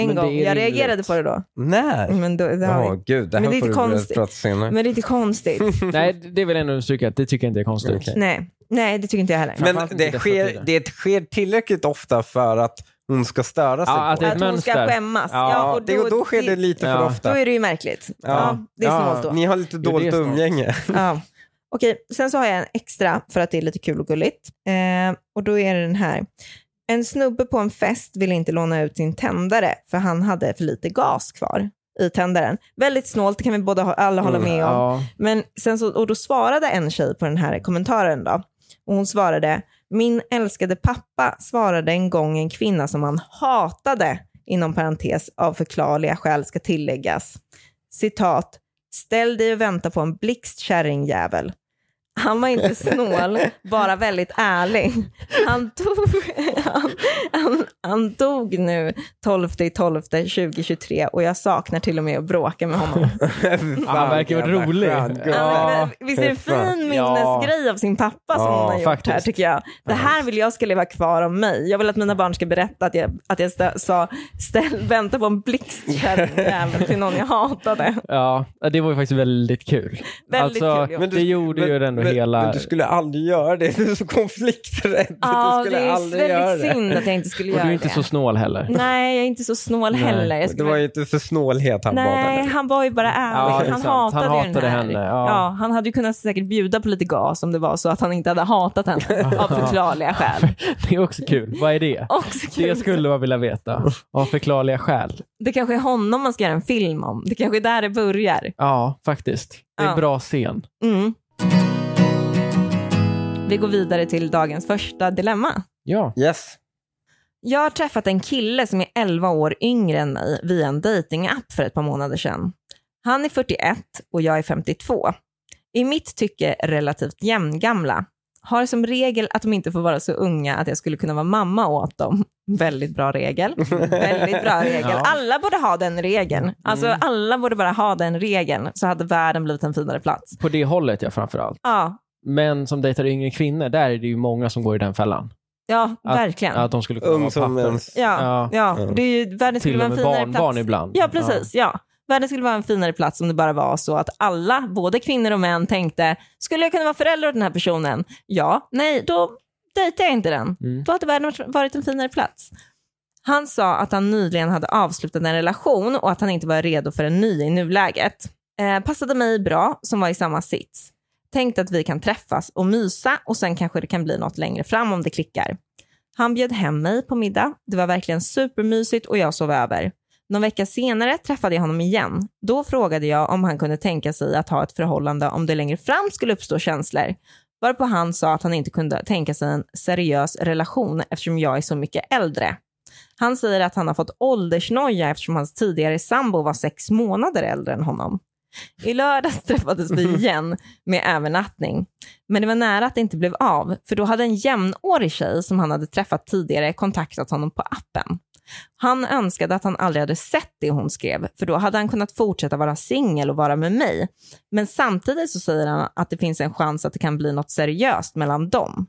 Speaker 2: En
Speaker 1: Men det
Speaker 2: gång.
Speaker 1: är
Speaker 2: Jag
Speaker 1: rimligt.
Speaker 2: reagerade på det då.
Speaker 3: När?
Speaker 2: Men då, Mm, det har
Speaker 3: Ja,
Speaker 2: vi.
Speaker 3: gud, det
Speaker 2: Men
Speaker 3: här
Speaker 2: det är lite
Speaker 3: får du börja
Speaker 2: konstigt.
Speaker 3: prata senare.
Speaker 2: Men det är inte konstigt.
Speaker 1: Nej, det vill jag ändå understryka att det tycker jag inte är konstigt.
Speaker 3: Okej.
Speaker 2: Nej. Nej, det tycker inte jag heller.
Speaker 3: Men
Speaker 1: Framförallt inte i
Speaker 3: det
Speaker 1: dessa
Speaker 3: sker,
Speaker 1: tider.
Speaker 3: det sker tillräckligt ofta för att hon ska störa sig
Speaker 1: Ja,
Speaker 3: på
Speaker 1: att det är ett
Speaker 2: att hon ska
Speaker 1: mönster.
Speaker 2: skämmas.
Speaker 3: Ja,
Speaker 2: och
Speaker 3: det, och då sker det lite för
Speaker 1: Ja.
Speaker 2: Då
Speaker 3: ofta.
Speaker 2: är det ju märkligt. Ja,
Speaker 3: Ja.
Speaker 2: det är
Speaker 1: Ja.
Speaker 2: snålt då.
Speaker 3: Ni har lite
Speaker 1: det är
Speaker 3: dåligt
Speaker 1: snart.
Speaker 3: umgänge.
Speaker 2: Ja. Okej, sen så har jag en extra för att det är lite kul och gulligt. Eh, och då är det den här. En snubbe på en fest vill inte låna ut sin tändare för han hade för lite gas kvar i tändaren. Väldigt snålt, det kan vi båda ha- alla hålla med om.
Speaker 1: Ja.
Speaker 2: Men sen så, och då svarade en tjej på den här kommentaren då. Och hon svarade, min älskade pappa svarade en gång en kvinna som han hatade, inom parentes, av förklarliga skäl ska tilläggas. Citat, ställ dig och vänta på en blixtkärringjävel. Han var inte snål, bara väldigt ärlig. Han dog, <laughs> han, han, han dog nu 12 12 2023 och jag saknar till och med att bråka med honom.
Speaker 1: han verkar vara
Speaker 3: Jävla
Speaker 1: rolig.
Speaker 3: skön gubbe.
Speaker 2: Ja, men visst är det en
Speaker 3: fan.
Speaker 2: fin minnesgrej av sin pappa som
Speaker 3: Ja,
Speaker 2: hon har gjort här
Speaker 1: faktiskt.
Speaker 2: tycker jag. Det här vill jag ska leva kvar om mig. Jag vill att mina barn ska berätta att jag, att jag stä, sa ställ, vänta på
Speaker 1: <laughs>
Speaker 2: en blixtkärringjävel till någon jag hatade.
Speaker 1: ja, det var ju faktiskt väldigt kul.
Speaker 2: Väldigt
Speaker 1: alltså,
Speaker 2: kul.
Speaker 3: Men du-
Speaker 1: det gjorde ju ändå
Speaker 3: men,
Speaker 1: hela...
Speaker 3: Men du skulle aldrig göra det. <laughs> Du är så konflikträdd.
Speaker 2: Ja,
Speaker 3: du
Speaker 2: det
Speaker 3: skulle
Speaker 2: är
Speaker 3: aldrig göra
Speaker 2: väldigt
Speaker 3: det.
Speaker 2: synd att jag inte skulle
Speaker 1: och
Speaker 2: göra
Speaker 1: du är
Speaker 2: det.
Speaker 1: inte så snål heller.
Speaker 2: Nej, jag är inte så snål
Speaker 1: Nej.
Speaker 2: heller. Jag
Speaker 3: Det
Speaker 2: skulle
Speaker 3: var ju inte för snålhet han var
Speaker 2: Nej,
Speaker 3: där.
Speaker 2: han var ju bara
Speaker 1: Ja,
Speaker 2: ärlig.
Speaker 1: det är
Speaker 2: han,
Speaker 1: sant. Han
Speaker 2: hatade ju
Speaker 1: hatade
Speaker 2: den här.
Speaker 1: henne, ja.
Speaker 2: han hade ju kunnat säkert bjuda på lite gas om det var så att han inte hade
Speaker 1: <laughs>
Speaker 2: hatat henne av förklarliga skäl.
Speaker 1: Det är också kul. Vad är det?
Speaker 2: Också kul.
Speaker 1: Det skulle man vilja veta. Av förklarliga skäl.
Speaker 2: Det kanske är honom man ska göra en film om. Det kanske är där det börjar.
Speaker 1: Ja, faktiskt. Det är en
Speaker 2: Ja.
Speaker 1: bra scen.
Speaker 2: Mm. Vi går vidare till dagens första dilemma.
Speaker 1: Ja.
Speaker 3: Yes.
Speaker 2: Jag har träffat en kille som är 11 år yngre än mig via en datingapp för ett par månader sedan. Han är 41 och jag är 52. I mitt tycke relativt jämngamla. Har som regel att de inte får vara så unga att jag skulle kunna vara mamma åt dem. Väldigt bra regel.
Speaker 1: <laughs>
Speaker 2: Väldigt bra regel.
Speaker 1: Ja. Mm.
Speaker 2: Alla borde ha den regeln. Alltså alla borde bara ha den regeln så hade världen blivit en finare plats.
Speaker 1: På det hållet, ja, framförallt.
Speaker 2: Ja,
Speaker 1: Män som dejtar yngre kvinnor, där är det ju många som går i den fällan.
Speaker 2: ja
Speaker 1: Att-
Speaker 2: verkligen.
Speaker 1: Att de skulle kunna
Speaker 3: Ung
Speaker 1: vara
Speaker 3: som
Speaker 1: pappor.
Speaker 3: ens.
Speaker 2: Ja, ja.
Speaker 3: Ja.
Speaker 2: Det är ju, världen skulle
Speaker 1: Till
Speaker 2: vara
Speaker 1: och
Speaker 2: en
Speaker 1: med
Speaker 2: finare
Speaker 1: barnbarn
Speaker 2: plats.
Speaker 1: ibland.
Speaker 2: Ja, precis. Ja. Världen skulle vara en finare plats om det bara var så att alla, både kvinnor och män, tänkte skulle jag kunna vara förälder åt den här personen? Ja, nej, då dejtar jag inte den.
Speaker 1: Mm.
Speaker 2: Då hade världen varit- varit en finare plats. Han sa att han nyligen hade avslutat en relation och att han inte var redo för en ny i nuläget. Eh, passade mig bra, som var i samma sits. Tänkte att vi kan träffas och mysa och sen kanske det kan bli något längre fram om det klickar. Han bjöd hem mig på middag. Det var verkligen supermysigt och jag sov över. Någon vecka senare träffade jag honom igen. Då frågade jag om han kunde tänka sig att ha ett förhållande om det längre fram skulle uppstå känslor. Varpå han sa att han inte kunde tänka sig en seriös relation eftersom jag är så mycket äldre. Han säger att han har fått åldersnoja eftersom hans tidigare sambo var sex månader äldre än honom. I lördags träffades vi igen med övernattning. Men det var nära att det inte blev av, för då hade en jämnårig tjej som han hade träffat tidigare kontaktat honom på appen. Han önskade att han aldrig hade sett det hon skrev, för då hade han kunnat fortsätta vara singel och vara med mig. Men samtidigt så säger han att det finns en chans att det kan bli något seriöst mellan dem.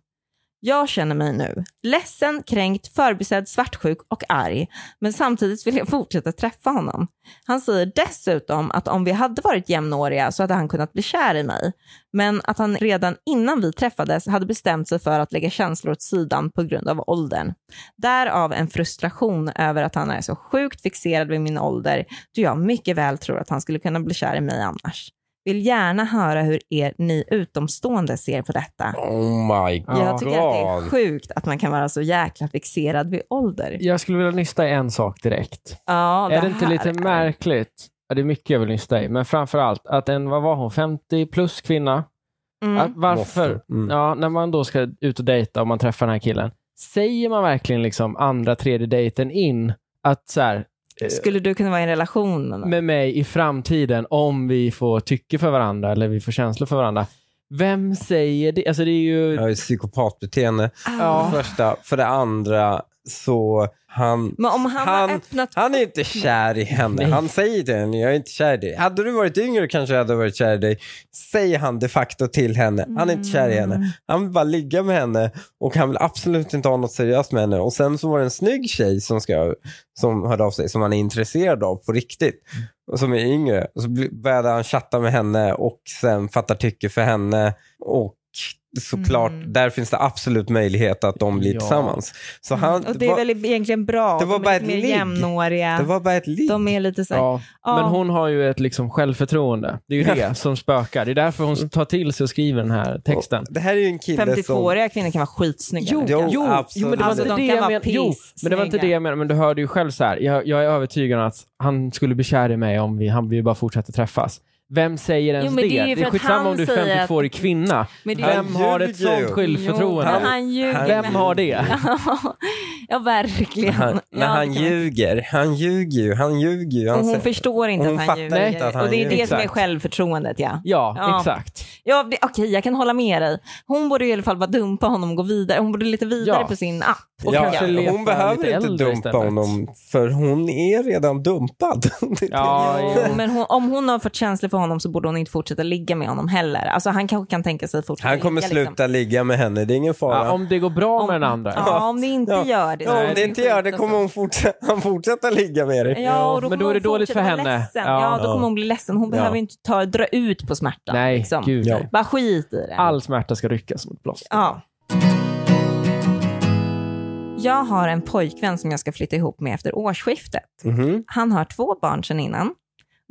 Speaker 2: Jag känner mig nu ledsen, kränkt, förbisedd, svartsjuk och arg. Men samtidigt vill jag fortsätta träffa honom. Han säger dessutom att om vi hade varit jämnåriga så hade han kunnat bli kär i mig. Men att han redan innan vi träffades hade bestämt sig för att lägga känslor åt sidan på grund av åldern. Därav en frustration över att han är så sjukt fixerad vid min ålder, då jag mycket väl tror att han skulle kunna bli kär i mig annars. Vill gärna höra hur er, ni utomstående ser på detta.
Speaker 3: Oh my god.
Speaker 2: Jag tycker att det är sjukt att man kan vara så jäkla fixerad vid ålder.
Speaker 1: Jag skulle vilja nysta i en sak direkt.
Speaker 2: Ja,
Speaker 1: är det inte
Speaker 2: här Mm.
Speaker 1: lite
Speaker 2: är-
Speaker 1: märkligt? Ja, det är mycket jag vill nysta i, men framför allt att en, vad var hon, 50 plus kvinna?
Speaker 2: Mm.
Speaker 1: Att varför?
Speaker 3: Mm.
Speaker 1: Ja, när man då ska ut och dejta och man träffar den här killen, säger man verkligen liksom andra, tredje dejten in att så här, eh,
Speaker 2: Skulle du kunna vara i en relation? Med
Speaker 1: med mig i framtiden om vi får tycke för varandra eller vi får känslor för varandra. Vem säger det? Alltså det är ju...
Speaker 3: Jag är psykopatbeteende.
Speaker 2: Ah.
Speaker 1: Ja.
Speaker 3: För det första. För det andra så han...
Speaker 2: Men om han,
Speaker 3: Han-
Speaker 2: har öppnat...
Speaker 3: Han är inte kär i henne.
Speaker 1: Nej.
Speaker 3: Han säger till henne, jag är inte kär i dig. Hade du varit yngre kanske jag hade varit kär i dig. Säger han de facto till henne.
Speaker 2: Mm.
Speaker 3: Han är inte kär i henne. Han vill bara ligga med henne och han vill absolut inte ha något seriöst med henne. Och sen så var det en snygg tjej som, ska, som hörde av sig, som han är intresserad av på riktigt. Och som är yngre. Och så bli- började han chatta med henne och sen fattar tycke för henne. Och såklart,
Speaker 2: Mm.
Speaker 3: där finns det absolut möjlighet att de blir
Speaker 1: Ja.
Speaker 3: tillsammans. Så han,
Speaker 2: Mm. Och det är
Speaker 3: var-
Speaker 2: väl egentligen bra.
Speaker 3: det var
Speaker 2: de
Speaker 3: bara
Speaker 2: är
Speaker 3: ett
Speaker 2: lite mer
Speaker 3: ligg.
Speaker 2: jämnåriga.
Speaker 3: det var bara ett ligg.
Speaker 2: De är lite så här,
Speaker 1: Ja,
Speaker 2: Ja.
Speaker 1: men hon har ju ett liksom självförtroende. Det är ju det som spökar. Det är därför hon tar till sig och skriver den här texten.
Speaker 3: Det här är ju en kille som...
Speaker 2: 52-åriga kvinnor kan vara skitsnygga.
Speaker 1: Jo,
Speaker 3: Jo,
Speaker 1: jo,
Speaker 3: absolut.
Speaker 1: jo, men det var
Speaker 2: Alltså,
Speaker 1: inte
Speaker 2: de
Speaker 1: det
Speaker 2: kan
Speaker 1: jag
Speaker 2: vara
Speaker 1: menade. Jo, men det var inte det
Speaker 2: pissnygga.
Speaker 1: jag menade. Men du hörde ju själv så här. Jag, jag är övertygad om att han skulle bli kär i mig om vi, han, vi bara fortsätter träffas. Vem säger ens
Speaker 6: men det är ju för
Speaker 1: det? Det är
Speaker 6: att
Speaker 1: skitsamma
Speaker 6: han
Speaker 1: om du
Speaker 6: säger att-
Speaker 1: är 52-årig kvinna.
Speaker 6: Men det-
Speaker 1: Vem
Speaker 3: Han
Speaker 1: har ett
Speaker 3: ljuger ju.
Speaker 1: sånt självförtroende?
Speaker 6: men
Speaker 3: Han-
Speaker 6: han ljuger.
Speaker 2: <laughs>
Speaker 3: han-
Speaker 1: Vem har det?
Speaker 6: ja, verkligen.
Speaker 3: Han,
Speaker 6: Ja,
Speaker 3: när han
Speaker 6: det kan-
Speaker 3: ljuger, han ljuger ju, han ljuger ju.
Speaker 2: Och
Speaker 3: Han
Speaker 2: hon
Speaker 3: säger-
Speaker 2: förstår inte
Speaker 3: hon
Speaker 2: att han
Speaker 3: fattar
Speaker 2: ljuger.
Speaker 3: inte att han
Speaker 2: och det är det
Speaker 3: ljuger.
Speaker 2: som är
Speaker 1: Exakt.
Speaker 2: självförtroendet ja.
Speaker 1: Ja,
Speaker 2: Ja.
Speaker 1: exakt.
Speaker 2: ja det- Okej, jag kan hålla med dig. Hon borde i alla fall bara dumpa honom och gå vidare. Hon borde lite vidare
Speaker 1: Ja.
Speaker 2: på sin app.
Speaker 1: och
Speaker 3: ja,
Speaker 1: kanske leta
Speaker 3: hon behöver
Speaker 1: lite
Speaker 3: inte
Speaker 1: äldre
Speaker 3: dumpa
Speaker 1: istället.
Speaker 3: honom, för hon är redan dumpad. <laughs> Det är
Speaker 1: Ja,
Speaker 2: Jo, men hon, om hon har fått känslor för honom så borde hon inte fortsätta ligga med honom heller. Alltså han kanske kan tänka sig att
Speaker 3: det.
Speaker 2: fortsätta
Speaker 3: Han kommer
Speaker 2: ligga,
Speaker 3: sluta ligga med henne, det är ingen fara.
Speaker 1: Ja, om det går bra med den andra.
Speaker 2: Liksom. Ja, om det inte
Speaker 3: Ja.
Speaker 2: gör det. så
Speaker 3: Ja,
Speaker 2: är
Speaker 3: om det inte
Speaker 2: sjukt
Speaker 3: gör det
Speaker 2: alltså.
Speaker 3: kommer hon fortsätta, <laughs> han fortsätta ligga med dig.
Speaker 2: Ja, och då
Speaker 1: men
Speaker 2: kommer
Speaker 1: då är
Speaker 2: hon
Speaker 1: det dåligt
Speaker 2: fortsätta
Speaker 1: för
Speaker 2: vara
Speaker 1: henne.
Speaker 2: Ledsen. Ja.
Speaker 1: Ja.
Speaker 2: då kommer hon bli ledsen. Hon behöver inte ta, dra ut på smärtan.
Speaker 1: Nej,
Speaker 2: liksom.
Speaker 1: gud
Speaker 3: Ja.
Speaker 1: nej.
Speaker 2: Bara skit i det.
Speaker 1: All smärta ska ryckas mot plåster.
Speaker 2: Ja. Jag har en pojkvän som jag ska flytta ihop med efter årsskiftet.
Speaker 3: Mhm.
Speaker 2: Han har två barn sedan innan.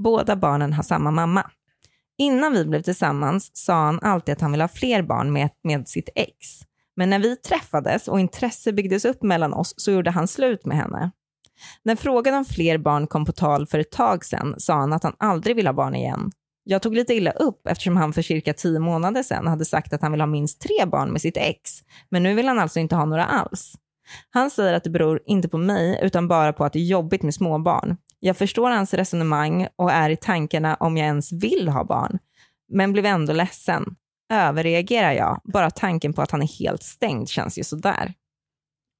Speaker 2: Båda barnen har samma mamma. Innan vi blev tillsammans sa han alltid att han ville ha fler barn med, med sitt ex. Men när vi träffades och intresse byggdes upp mellan oss så gjorde han slut med henne. När frågan om fler barn kom på tal för ett tag sedan sa han att han aldrig vill ha barn igen. Jag tog lite illa upp eftersom han för cirka tio månader sedan hade sagt att han vill ha minst tre barn med sitt ex. Men nu vill han alltså inte ha några alls. Han säger att det beror inte på mig utan bara på att det är jobbigt med småbarn. Jag förstår hans resonemang och är i tankarna om jag ens vill ha barn. Men blev ändå ledsen. Överreagerar jag? Bara tanken på att han är helt stängd känns ju sådär.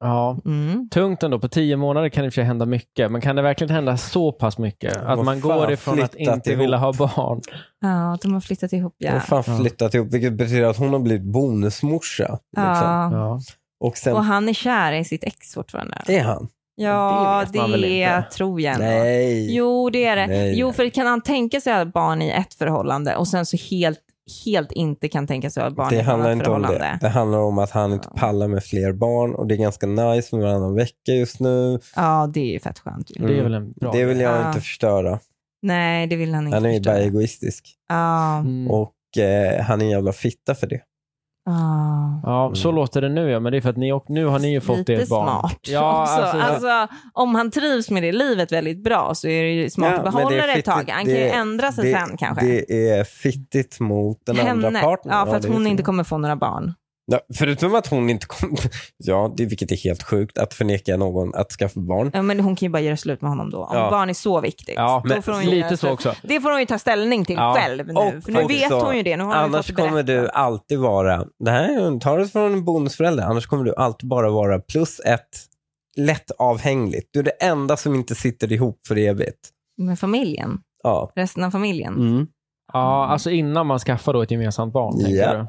Speaker 1: Ja.
Speaker 2: Mm.
Speaker 1: Tungt ändå. På tio månader kan det i och för sig hända mycket. Men kan det verkligen hända så pass mycket? Att
Speaker 3: Vad
Speaker 1: man
Speaker 3: fan,
Speaker 1: går ifrån att
Speaker 3: flyttat
Speaker 1: inte
Speaker 3: ihop.
Speaker 1: vilja ha barn.
Speaker 2: Ja, de har flyttat ihop
Speaker 3: Hon har
Speaker 2: ja.
Speaker 3: fan
Speaker 1: Ja.
Speaker 3: flyttat ihop, vilket betyder att hon har blivit bonusmorsa. Liksom.
Speaker 2: ja.
Speaker 1: Ja.
Speaker 3: Och sen,
Speaker 2: Och han är kär i sitt ex fortfarande.
Speaker 3: är han?
Speaker 2: Ja,
Speaker 1: vet man väl
Speaker 2: det
Speaker 1: inte.
Speaker 2: tror jag ändå.
Speaker 3: Nej.
Speaker 2: Jo, det är det.
Speaker 3: Nej.
Speaker 2: Jo, för kan han tänka sig att ha barn i ett förhållande och sen så helt, helt inte kan tänka sig att ha barn i
Speaker 3: Det
Speaker 2: ett annat
Speaker 3: handlar inte om
Speaker 2: förhållande?
Speaker 3: det. Det handlar om att han inte pallar med fler barn och det är ganska nice med varannan vecka just nu.
Speaker 2: Ja, det är ju fett skönt. Ju.
Speaker 1: Det är
Speaker 3: Mm.
Speaker 1: väl en bra
Speaker 3: Det vill jag
Speaker 2: Ja.
Speaker 3: inte förstöra.
Speaker 2: Nej, det vill han inte.
Speaker 3: Han är ju
Speaker 2: förstå.
Speaker 3: bara egoistisk.
Speaker 2: Ja,
Speaker 1: Mm.
Speaker 3: Och eh, han är en jävla fitta för det.
Speaker 2: ja.
Speaker 1: Ja, så
Speaker 3: Mm.
Speaker 1: låter det nu ja. Men det är för att ni, och nu har ni ju fått
Speaker 2: Lite
Speaker 1: ert barn.
Speaker 2: smart.
Speaker 1: Ja,
Speaker 2: också.
Speaker 1: alltså,
Speaker 2: alltså, om han trivs med det livet väldigt bra så är det ju smart
Speaker 3: Ja,
Speaker 2: att
Speaker 3: men det är
Speaker 2: behålla det, ett
Speaker 3: fittigt.
Speaker 2: tag. Han kan ju
Speaker 3: Det-
Speaker 2: ändra sig
Speaker 3: det-
Speaker 2: sen kanske.
Speaker 3: Det är fittigt mot den andra partnern.
Speaker 2: Ja, för att
Speaker 3: det är
Speaker 2: hon
Speaker 3: fint.
Speaker 2: inte kommer få några barn.
Speaker 3: Ja, förutom att hon inte kommer... <laughs> Ja, det, vilket är helt sjukt att förneka någon att skaffa barn.
Speaker 2: Ja, men hon kan ju bara göra slut med honom då. Om
Speaker 3: Ja.
Speaker 2: barn är så viktigt.
Speaker 1: ja,
Speaker 2: då får hon ju göra
Speaker 1: lite
Speaker 2: slut.
Speaker 1: så också.
Speaker 2: Det får hon ju ta ställning till
Speaker 1: Ja.
Speaker 2: själv nu.
Speaker 3: Och
Speaker 2: för nu vet
Speaker 3: också,
Speaker 2: hon ju det. Nu har hon ju
Speaker 3: Annars
Speaker 2: fått
Speaker 3: kommer
Speaker 2: berätta.
Speaker 3: du alltid vara... Det här är- tar det från en bonusförälder. Annars kommer du alltid bara vara plus ett lätt avhängligt. Du är det enda som inte sitter ihop för evigt.
Speaker 2: Med familjen.
Speaker 3: Ja.
Speaker 2: Resten av familjen.
Speaker 3: Mm.
Speaker 1: Ja, alltså innan man skaffar då ett gemensamt barn. tänker
Speaker 3: Ja.
Speaker 1: du?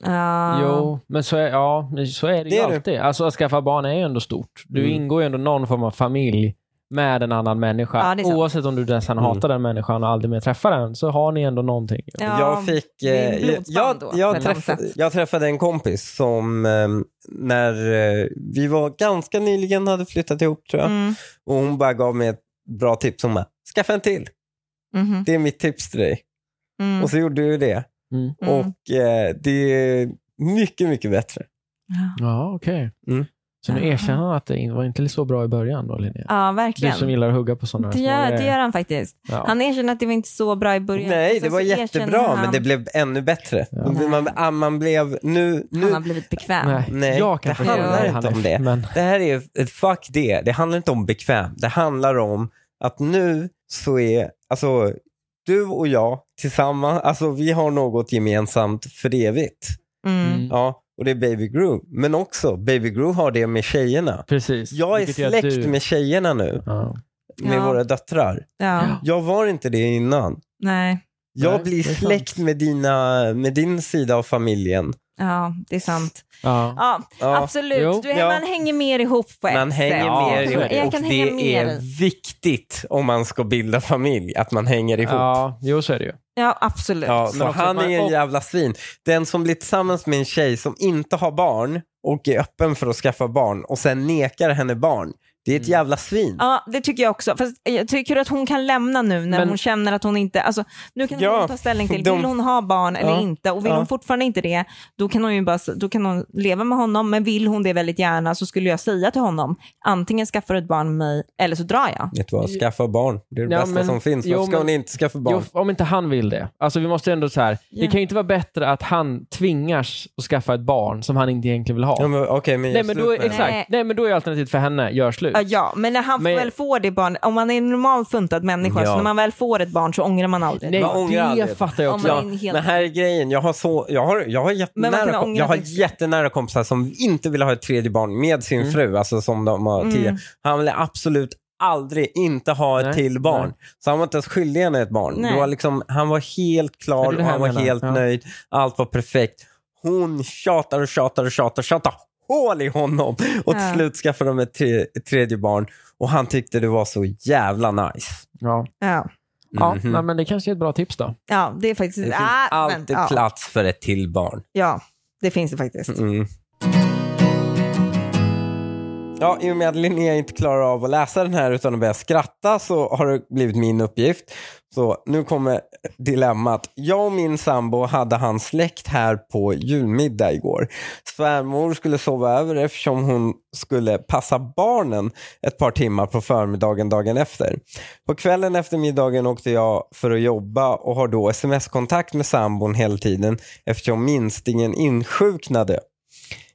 Speaker 2: Ja.
Speaker 1: Jo, men så är, ja, men så är det,
Speaker 3: Det
Speaker 1: ju
Speaker 3: är det.
Speaker 1: alltid. Alltså att skaffa barn är ju ändå stort. Du
Speaker 3: Mm.
Speaker 1: ingår ju ändå någon form av familj med en annan människa.
Speaker 2: Ja, det är sant.
Speaker 1: Oavsett om du sen
Speaker 3: Mm.
Speaker 1: hatar den människan och aldrig mer träffar den, så har ni ändå någonting.
Speaker 2: Ja,
Speaker 3: jag fick...
Speaker 2: det är
Speaker 3: eh,
Speaker 2: blodsband
Speaker 3: jag,
Speaker 2: då, på
Speaker 3: jag,
Speaker 2: något
Speaker 3: träffade,
Speaker 2: sätt.
Speaker 3: jag träffade en kompis som eh, när eh, vi var ganska nyligen hade flyttat ihop tror jag.
Speaker 2: Mm.
Speaker 3: Och hon bara gav mig ett bra tips. Hon bara, skaffa en till.
Speaker 2: Mhm.
Speaker 3: Det är mitt tips till dig.
Speaker 2: Mm.
Speaker 3: Och så gjorde du det.
Speaker 1: Mm.
Speaker 2: Mm.
Speaker 3: Och eh, det är mycket, mycket bättre.
Speaker 1: Ja, okej.
Speaker 3: Mm.
Speaker 1: Så nu erkänner han att det in- var inte så bra i början då, Linnea.
Speaker 2: Ja,
Speaker 1: Du
Speaker 2: verkligen.
Speaker 1: som gillar att hugga på sådana.
Speaker 2: Det gör, det gör han faktiskt.
Speaker 1: Ja.
Speaker 2: Han erkänner att det var inte så bra i början.
Speaker 3: Nej,
Speaker 2: Sen
Speaker 3: det
Speaker 2: så
Speaker 3: var
Speaker 2: erkänner
Speaker 3: jättebra,
Speaker 2: han,
Speaker 3: men det blev ännu bättre.
Speaker 1: Ja.
Speaker 3: Man, ah, man blev... Nu,
Speaker 2: Han har
Speaker 3: nu,
Speaker 2: blivit bekväm.
Speaker 1: Nej,
Speaker 3: Nej,
Speaker 1: jag kan
Speaker 3: det
Speaker 1: förstå
Speaker 2: handlar
Speaker 1: dig,
Speaker 3: inte om
Speaker 1: Hanif,
Speaker 3: det.
Speaker 1: Men
Speaker 3: det här är... ju- Fuck det. Det handlar inte om bekväm. Det handlar om att nu så är... Alltså, du och jag tillsammans, alltså vi har något gemensamt för evigt.
Speaker 2: Mm.
Speaker 3: Ja, och det är Baby Groove. Men också, Baby Groove har det med tjejerna.
Speaker 1: precis.
Speaker 3: Jag är
Speaker 1: Vilket gör att
Speaker 3: släkt
Speaker 1: du-
Speaker 3: med tjejerna nu,
Speaker 1: Ja.
Speaker 3: med
Speaker 2: Ja.
Speaker 3: våra döttrar.
Speaker 2: Ja,
Speaker 3: Jag var inte det innan.
Speaker 2: nej.
Speaker 3: Jag
Speaker 1: Nej,
Speaker 3: blir
Speaker 1: det är sant.
Speaker 3: släkt med, dina, med din sida av familjen.
Speaker 2: Ja, det är sant.
Speaker 1: Ja.
Speaker 2: Ja,
Speaker 3: Ja.
Speaker 2: absolut.
Speaker 1: Jo,
Speaker 2: du,
Speaker 3: ja.
Speaker 2: Man hänger mer ihop på
Speaker 3: Man
Speaker 2: ett
Speaker 3: hänger
Speaker 2: sätt.
Speaker 1: Ja,
Speaker 3: mer
Speaker 1: så
Speaker 2: jag
Speaker 1: är
Speaker 2: kan,
Speaker 3: ihop
Speaker 2: jag
Speaker 3: och
Speaker 2: kan
Speaker 3: det
Speaker 2: hänga mer
Speaker 3: är
Speaker 2: i.
Speaker 3: viktigt om man ska bilda familj att man hänger ihop. Ja.
Speaker 1: ja, jo så är det ju.
Speaker 2: Ja, absolut.
Speaker 3: så
Speaker 1: Men också
Speaker 3: han
Speaker 1: att man-
Speaker 3: är en
Speaker 1: och-
Speaker 3: jävla svin. Den som blir tillsammans med en tjej som inte har barn och är öppen för att skaffa barn och sen nekar henne barn. Det är
Speaker 1: Mm.
Speaker 3: ett jävla svin.
Speaker 2: Ja, det tycker jag också. Fast jag tycker att hon kan lämna nu när
Speaker 1: Men-
Speaker 2: hon känner att hon inte... Alltså, nu kan
Speaker 3: Ja,
Speaker 2: hon ta ställning till,
Speaker 3: de-
Speaker 2: vill hon ha barn eller
Speaker 3: Ja,
Speaker 2: inte? Och vill
Speaker 3: ja.
Speaker 2: hon fortfarande inte det, då kan hon ju bara, då kan hon leva med honom. Men vill hon det väldigt gärna så skulle jag säga till honom, antingen skaffar du ett barn med mig eller så drar jag.
Speaker 3: Vet du vad, skaffa barn. Det är det
Speaker 1: Ja,
Speaker 3: bästa
Speaker 1: men-
Speaker 3: som finns. Varför
Speaker 1: jo,
Speaker 3: ska
Speaker 1: men-
Speaker 3: hon inte skaffa barn?
Speaker 1: Jo, om inte han vill det. Alltså vi måste ändå så här. Det
Speaker 2: Ja.
Speaker 1: kan ju inte vara bättre att han tvingas att skaffa ett barn som han inte egentligen vill ha.
Speaker 3: Ja, men, okej, men
Speaker 1: Nej
Speaker 3: gör
Speaker 1: men,
Speaker 3: slut
Speaker 1: då,
Speaker 3: med det.
Speaker 1: exakt.
Speaker 2: Nej.
Speaker 1: Nej. men då är alternativet för henne, gör slut.
Speaker 2: Ja, ja. men när han
Speaker 1: Men-
Speaker 2: väl får det barnet, om man är en normal funtad människa,
Speaker 3: Ja.
Speaker 2: så när man väl får ett barn så ångrar man aldrig.
Speaker 1: Nej,
Speaker 3: Man ångrar
Speaker 1: det
Speaker 3: aldrig.
Speaker 1: fattar jag
Speaker 2: Om
Speaker 1: också.
Speaker 2: man
Speaker 3: Ja,
Speaker 2: är en helt-
Speaker 3: men här är grejen. Jag har, så, jag har, jag har,
Speaker 2: Men man kan
Speaker 3: jättenära,
Speaker 2: ha
Speaker 3: kom- jag har
Speaker 2: ångrat det.
Speaker 3: jättenära kompisar som inte vill ha ett tredje barn med sin fru, alltså som de har
Speaker 2: Mm.
Speaker 3: tidigare. Han vill absolut aldrig inte ha ett
Speaker 1: Nej,
Speaker 3: till barn.
Speaker 1: nej.
Speaker 3: Så han var inte ens skyldig henne ett barn.
Speaker 2: Nej.
Speaker 3: Det var liksom, han var helt
Speaker 1: Ja,
Speaker 3: klar
Speaker 1: det är det
Speaker 3: och
Speaker 1: här
Speaker 3: han var
Speaker 1: jag menar.
Speaker 3: helt
Speaker 1: Ja.
Speaker 3: nöjd. Allt var perfekt. Hon tjatar och tjatar och tjatar, tjatar hål i honom och till
Speaker 2: Ja.
Speaker 3: slut skaffade de ett, tre, ett tredje barn och han tyckte det var så jävla nice.
Speaker 1: Ja,
Speaker 2: Ja.
Speaker 1: ja
Speaker 3: Mhm.
Speaker 1: nej, men det kanske är ett bra tips då.
Speaker 2: ja, det är faktiskt...
Speaker 3: Det finns
Speaker 2: ah,
Speaker 3: alltid
Speaker 2: men, ja.
Speaker 3: plats för ett till barn.
Speaker 2: ja, det finns det faktiskt.
Speaker 3: Mm. Ja, I och med att Linnea inte klarar av att läsa den här utan att börja skratta så har det blivit min uppgift. Så nu kommer dilemmat. Jag och min sambo hade hans släkt här på julmiddag igår. Svärmor skulle sova över eftersom hon skulle passa barnen ett par timmar på förmiddagen dagen efter. På kvällen efter middagen åkte jag för att jobba och har då sms-kontakt med sambon hela tiden eftersom minstingen insjuknade.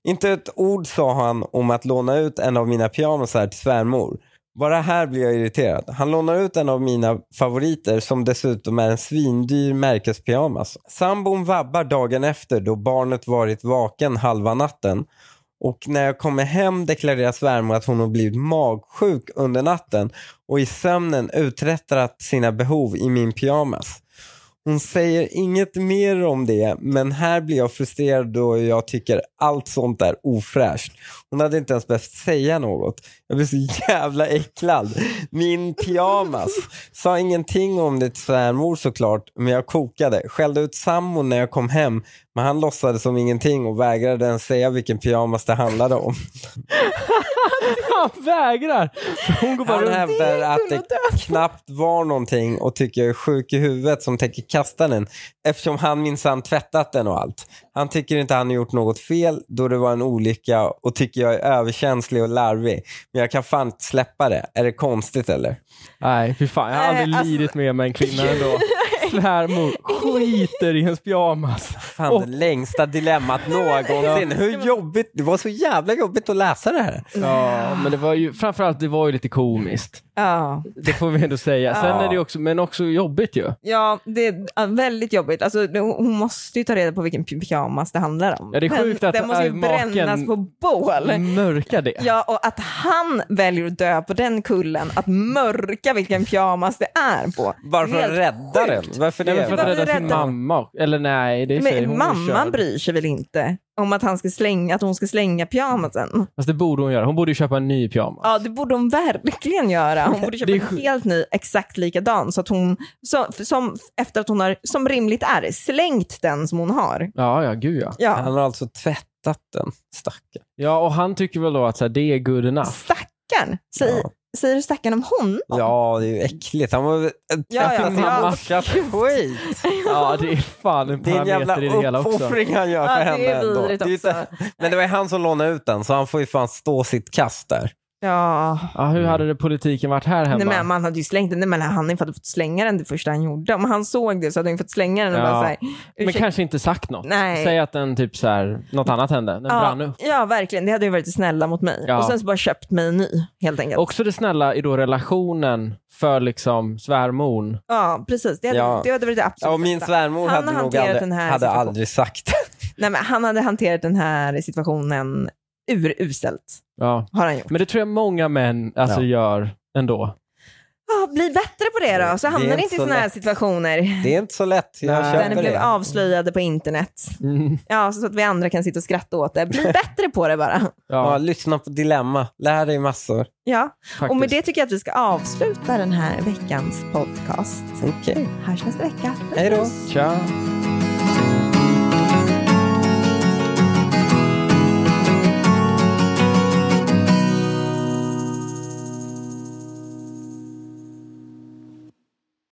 Speaker 3: Inte ett ord sa han om att låna ut en av mina pyjamasar till svärmor. Bara här blir jag irriterad. Han lånar ut en av mina favoriter som dessutom är en svindyr märkespyjamas. Sambon vabbar dagen efter då barnet varit vaken halva natten. Och när jag kommer hem deklarerar svärmor att hon har blivit magsjuk under natten och i sömnen uträttat sina behov i min pyjamas. Hon säger inget mer om det, men här blir jag frustrerad då jag tycker allt sånt är ofräscht. Hon hade inte ens behövt säga något. Jag blir så jävla äcklad. Min pyjamas. Sa ingenting om det till svärmor såklart, men jag kokade. Skällde ut sambon när jag kom hem, men han låtsades som ingenting och vägrade ens säga vilken pyjamas det handlade om.
Speaker 1: Han <laughs> vägrar! Hon går bara
Speaker 3: Han
Speaker 1: runt.
Speaker 3: hävdar att det knappt var någonting och tycker jag är sjuk i huvudet som tänker kasta den eftersom han minsann tvättat den och allt. Han tycker inte han har gjort något fel då det var en olycka och tycker jag är överkänslig och larvig. Men jag kan fan inte släppa det. Är det konstigt eller?
Speaker 1: Nej, fy fan. Jag har
Speaker 2: Nej,
Speaker 1: aldrig
Speaker 2: alltså-
Speaker 1: lidit mer med en kvinna
Speaker 2: <laughs>
Speaker 1: ändå. Svärmor skiter i ens pyjamas.
Speaker 3: Fan
Speaker 1: Och-
Speaker 3: det längsta dilemmat någonsin. Hur jobbigt? Det var så jävla jobbigt att läsa det här.
Speaker 1: Ja, men det var ju, framförallt det var ju lite komiskt.
Speaker 2: Ja.
Speaker 1: Det får vi ändå säga. Sen
Speaker 3: Ja.
Speaker 1: är det ju också, men också jobbigt ju.
Speaker 2: Ja, det är ja, väldigt jobbigt. Alltså, det- hon hon måste ju ta reda på vilken py- pyjamas det handlar om.
Speaker 1: Ja, det är sjukt
Speaker 2: den,
Speaker 1: att
Speaker 2: den måste ju
Speaker 1: äh, maken- Mm.
Speaker 2: brännas på bål.
Speaker 1: Mörka det.
Speaker 2: Ja, och att han väljer att dö på den kullen, att mörka vilken pyjamas det är på.
Speaker 3: Bara för
Speaker 2: Helt
Speaker 3: att rädda den. Varför
Speaker 1: Nej,
Speaker 3: det?
Speaker 1: men för att
Speaker 2: Varför
Speaker 1: rädda sin
Speaker 2: rädda?
Speaker 1: mamma. och- Eller nej, det säger hon
Speaker 2: Men
Speaker 1: ju
Speaker 2: mamman
Speaker 1: körd.
Speaker 2: bryr sig väl inte om att, han ska slänga, att hon ska slänga pyjamasen?
Speaker 1: Fast det borde hon göra. Hon borde ju köpa en ny pyjamas.
Speaker 2: Ja, det borde hon verkligen göra. Hon borde köpa
Speaker 1: Det är
Speaker 2: en
Speaker 1: sjukt.
Speaker 2: helt ny, exakt likadan, så att hon, så, som, efter att hon har, som rimligt är, slängt den som hon har.
Speaker 1: Ja, ja, gud ja.
Speaker 2: Ja.
Speaker 3: Han har alltså tvättat den. Stackarn.
Speaker 1: Ja, och han tycker väl då att så här, det är good enough.
Speaker 2: Stackarn! Säg,
Speaker 3: Ja.
Speaker 2: Säger du stackarn om honom?
Speaker 3: Ja, det är ju äckligt. Han var väl...
Speaker 2: Ja, ja,
Speaker 3: Din
Speaker 2: ja.
Speaker 3: mackas skit.
Speaker 1: Ja, det är fan en
Speaker 3: Det är en jävla
Speaker 1: parameter i det hela också.
Speaker 3: uppoffring han gör för
Speaker 2: Ja, det är
Speaker 3: henne ändå.
Speaker 2: vidrigt
Speaker 3: Det är ju
Speaker 2: också.
Speaker 3: inte- Men det var ju han som lånade ut den, så han får ju fan stå sitt kast där.
Speaker 2: Ja.
Speaker 1: Ja, hur hade det politiken varit här hemma?
Speaker 2: Nej, men man hade ju slängt den. Nej, men han hade fått slänga den det första han gjorde. Om han såg det så hade han fått slänga den och
Speaker 1: Ja.
Speaker 2: bara så här,
Speaker 1: Men
Speaker 2: ursäkta.
Speaker 1: kanske inte sagt något.
Speaker 2: Nej. Mm.
Speaker 1: Säg att den typ så här, något annat hände. Den brann upp.
Speaker 2: ja, ja, verkligen. Det hade ju varit snälla mot mig.
Speaker 1: Ja.
Speaker 2: Och sen så bara köpt mig en ny, helt enkelt.
Speaker 1: Också det snälla i då relationen för liksom svärmon.
Speaker 2: ja, precis. Det hade,
Speaker 3: Ja.
Speaker 2: det hade varit det absolut
Speaker 3: Ja, och min
Speaker 2: bästa.
Speaker 3: svärmor
Speaker 2: Han
Speaker 3: hade
Speaker 2: har
Speaker 3: nog
Speaker 2: hanterat
Speaker 3: aldrig,
Speaker 2: den här
Speaker 3: hade
Speaker 2: situationen.
Speaker 3: aldrig sagt det.
Speaker 2: Nej, men han hade hanterat den här situationen uruselt.
Speaker 1: Ja.
Speaker 2: Har han gjort.
Speaker 1: Men det tror jag många män alltså,
Speaker 3: Ja.
Speaker 1: gör ändå.
Speaker 2: Ja, bli bättre på det då,
Speaker 3: Det
Speaker 2: så
Speaker 3: är
Speaker 2: hamnar ni
Speaker 3: inte
Speaker 2: inte i
Speaker 3: så
Speaker 2: sådana här
Speaker 3: lätt.
Speaker 2: situationer.
Speaker 3: Det är inte så lätt.
Speaker 1: Nej.
Speaker 3: Jag
Speaker 2: Där ni
Speaker 3: köper
Speaker 2: blev
Speaker 3: det.
Speaker 2: avslöjade på internet.
Speaker 1: Mm.
Speaker 2: Ja, så att vi andra kan sitta och skratta åt det. Bli <laughs> bättre på det bara.
Speaker 1: Ja,
Speaker 3: Ja, lyssna på Dilemma. Lär dig massor.
Speaker 2: Ja,
Speaker 1: faktiskt.
Speaker 2: och med det tycker jag att vi ska avsluta den här veckans podcast.
Speaker 3: Okej,
Speaker 2: Hörs nästa vecka.
Speaker 3: hej då.
Speaker 1: Tja.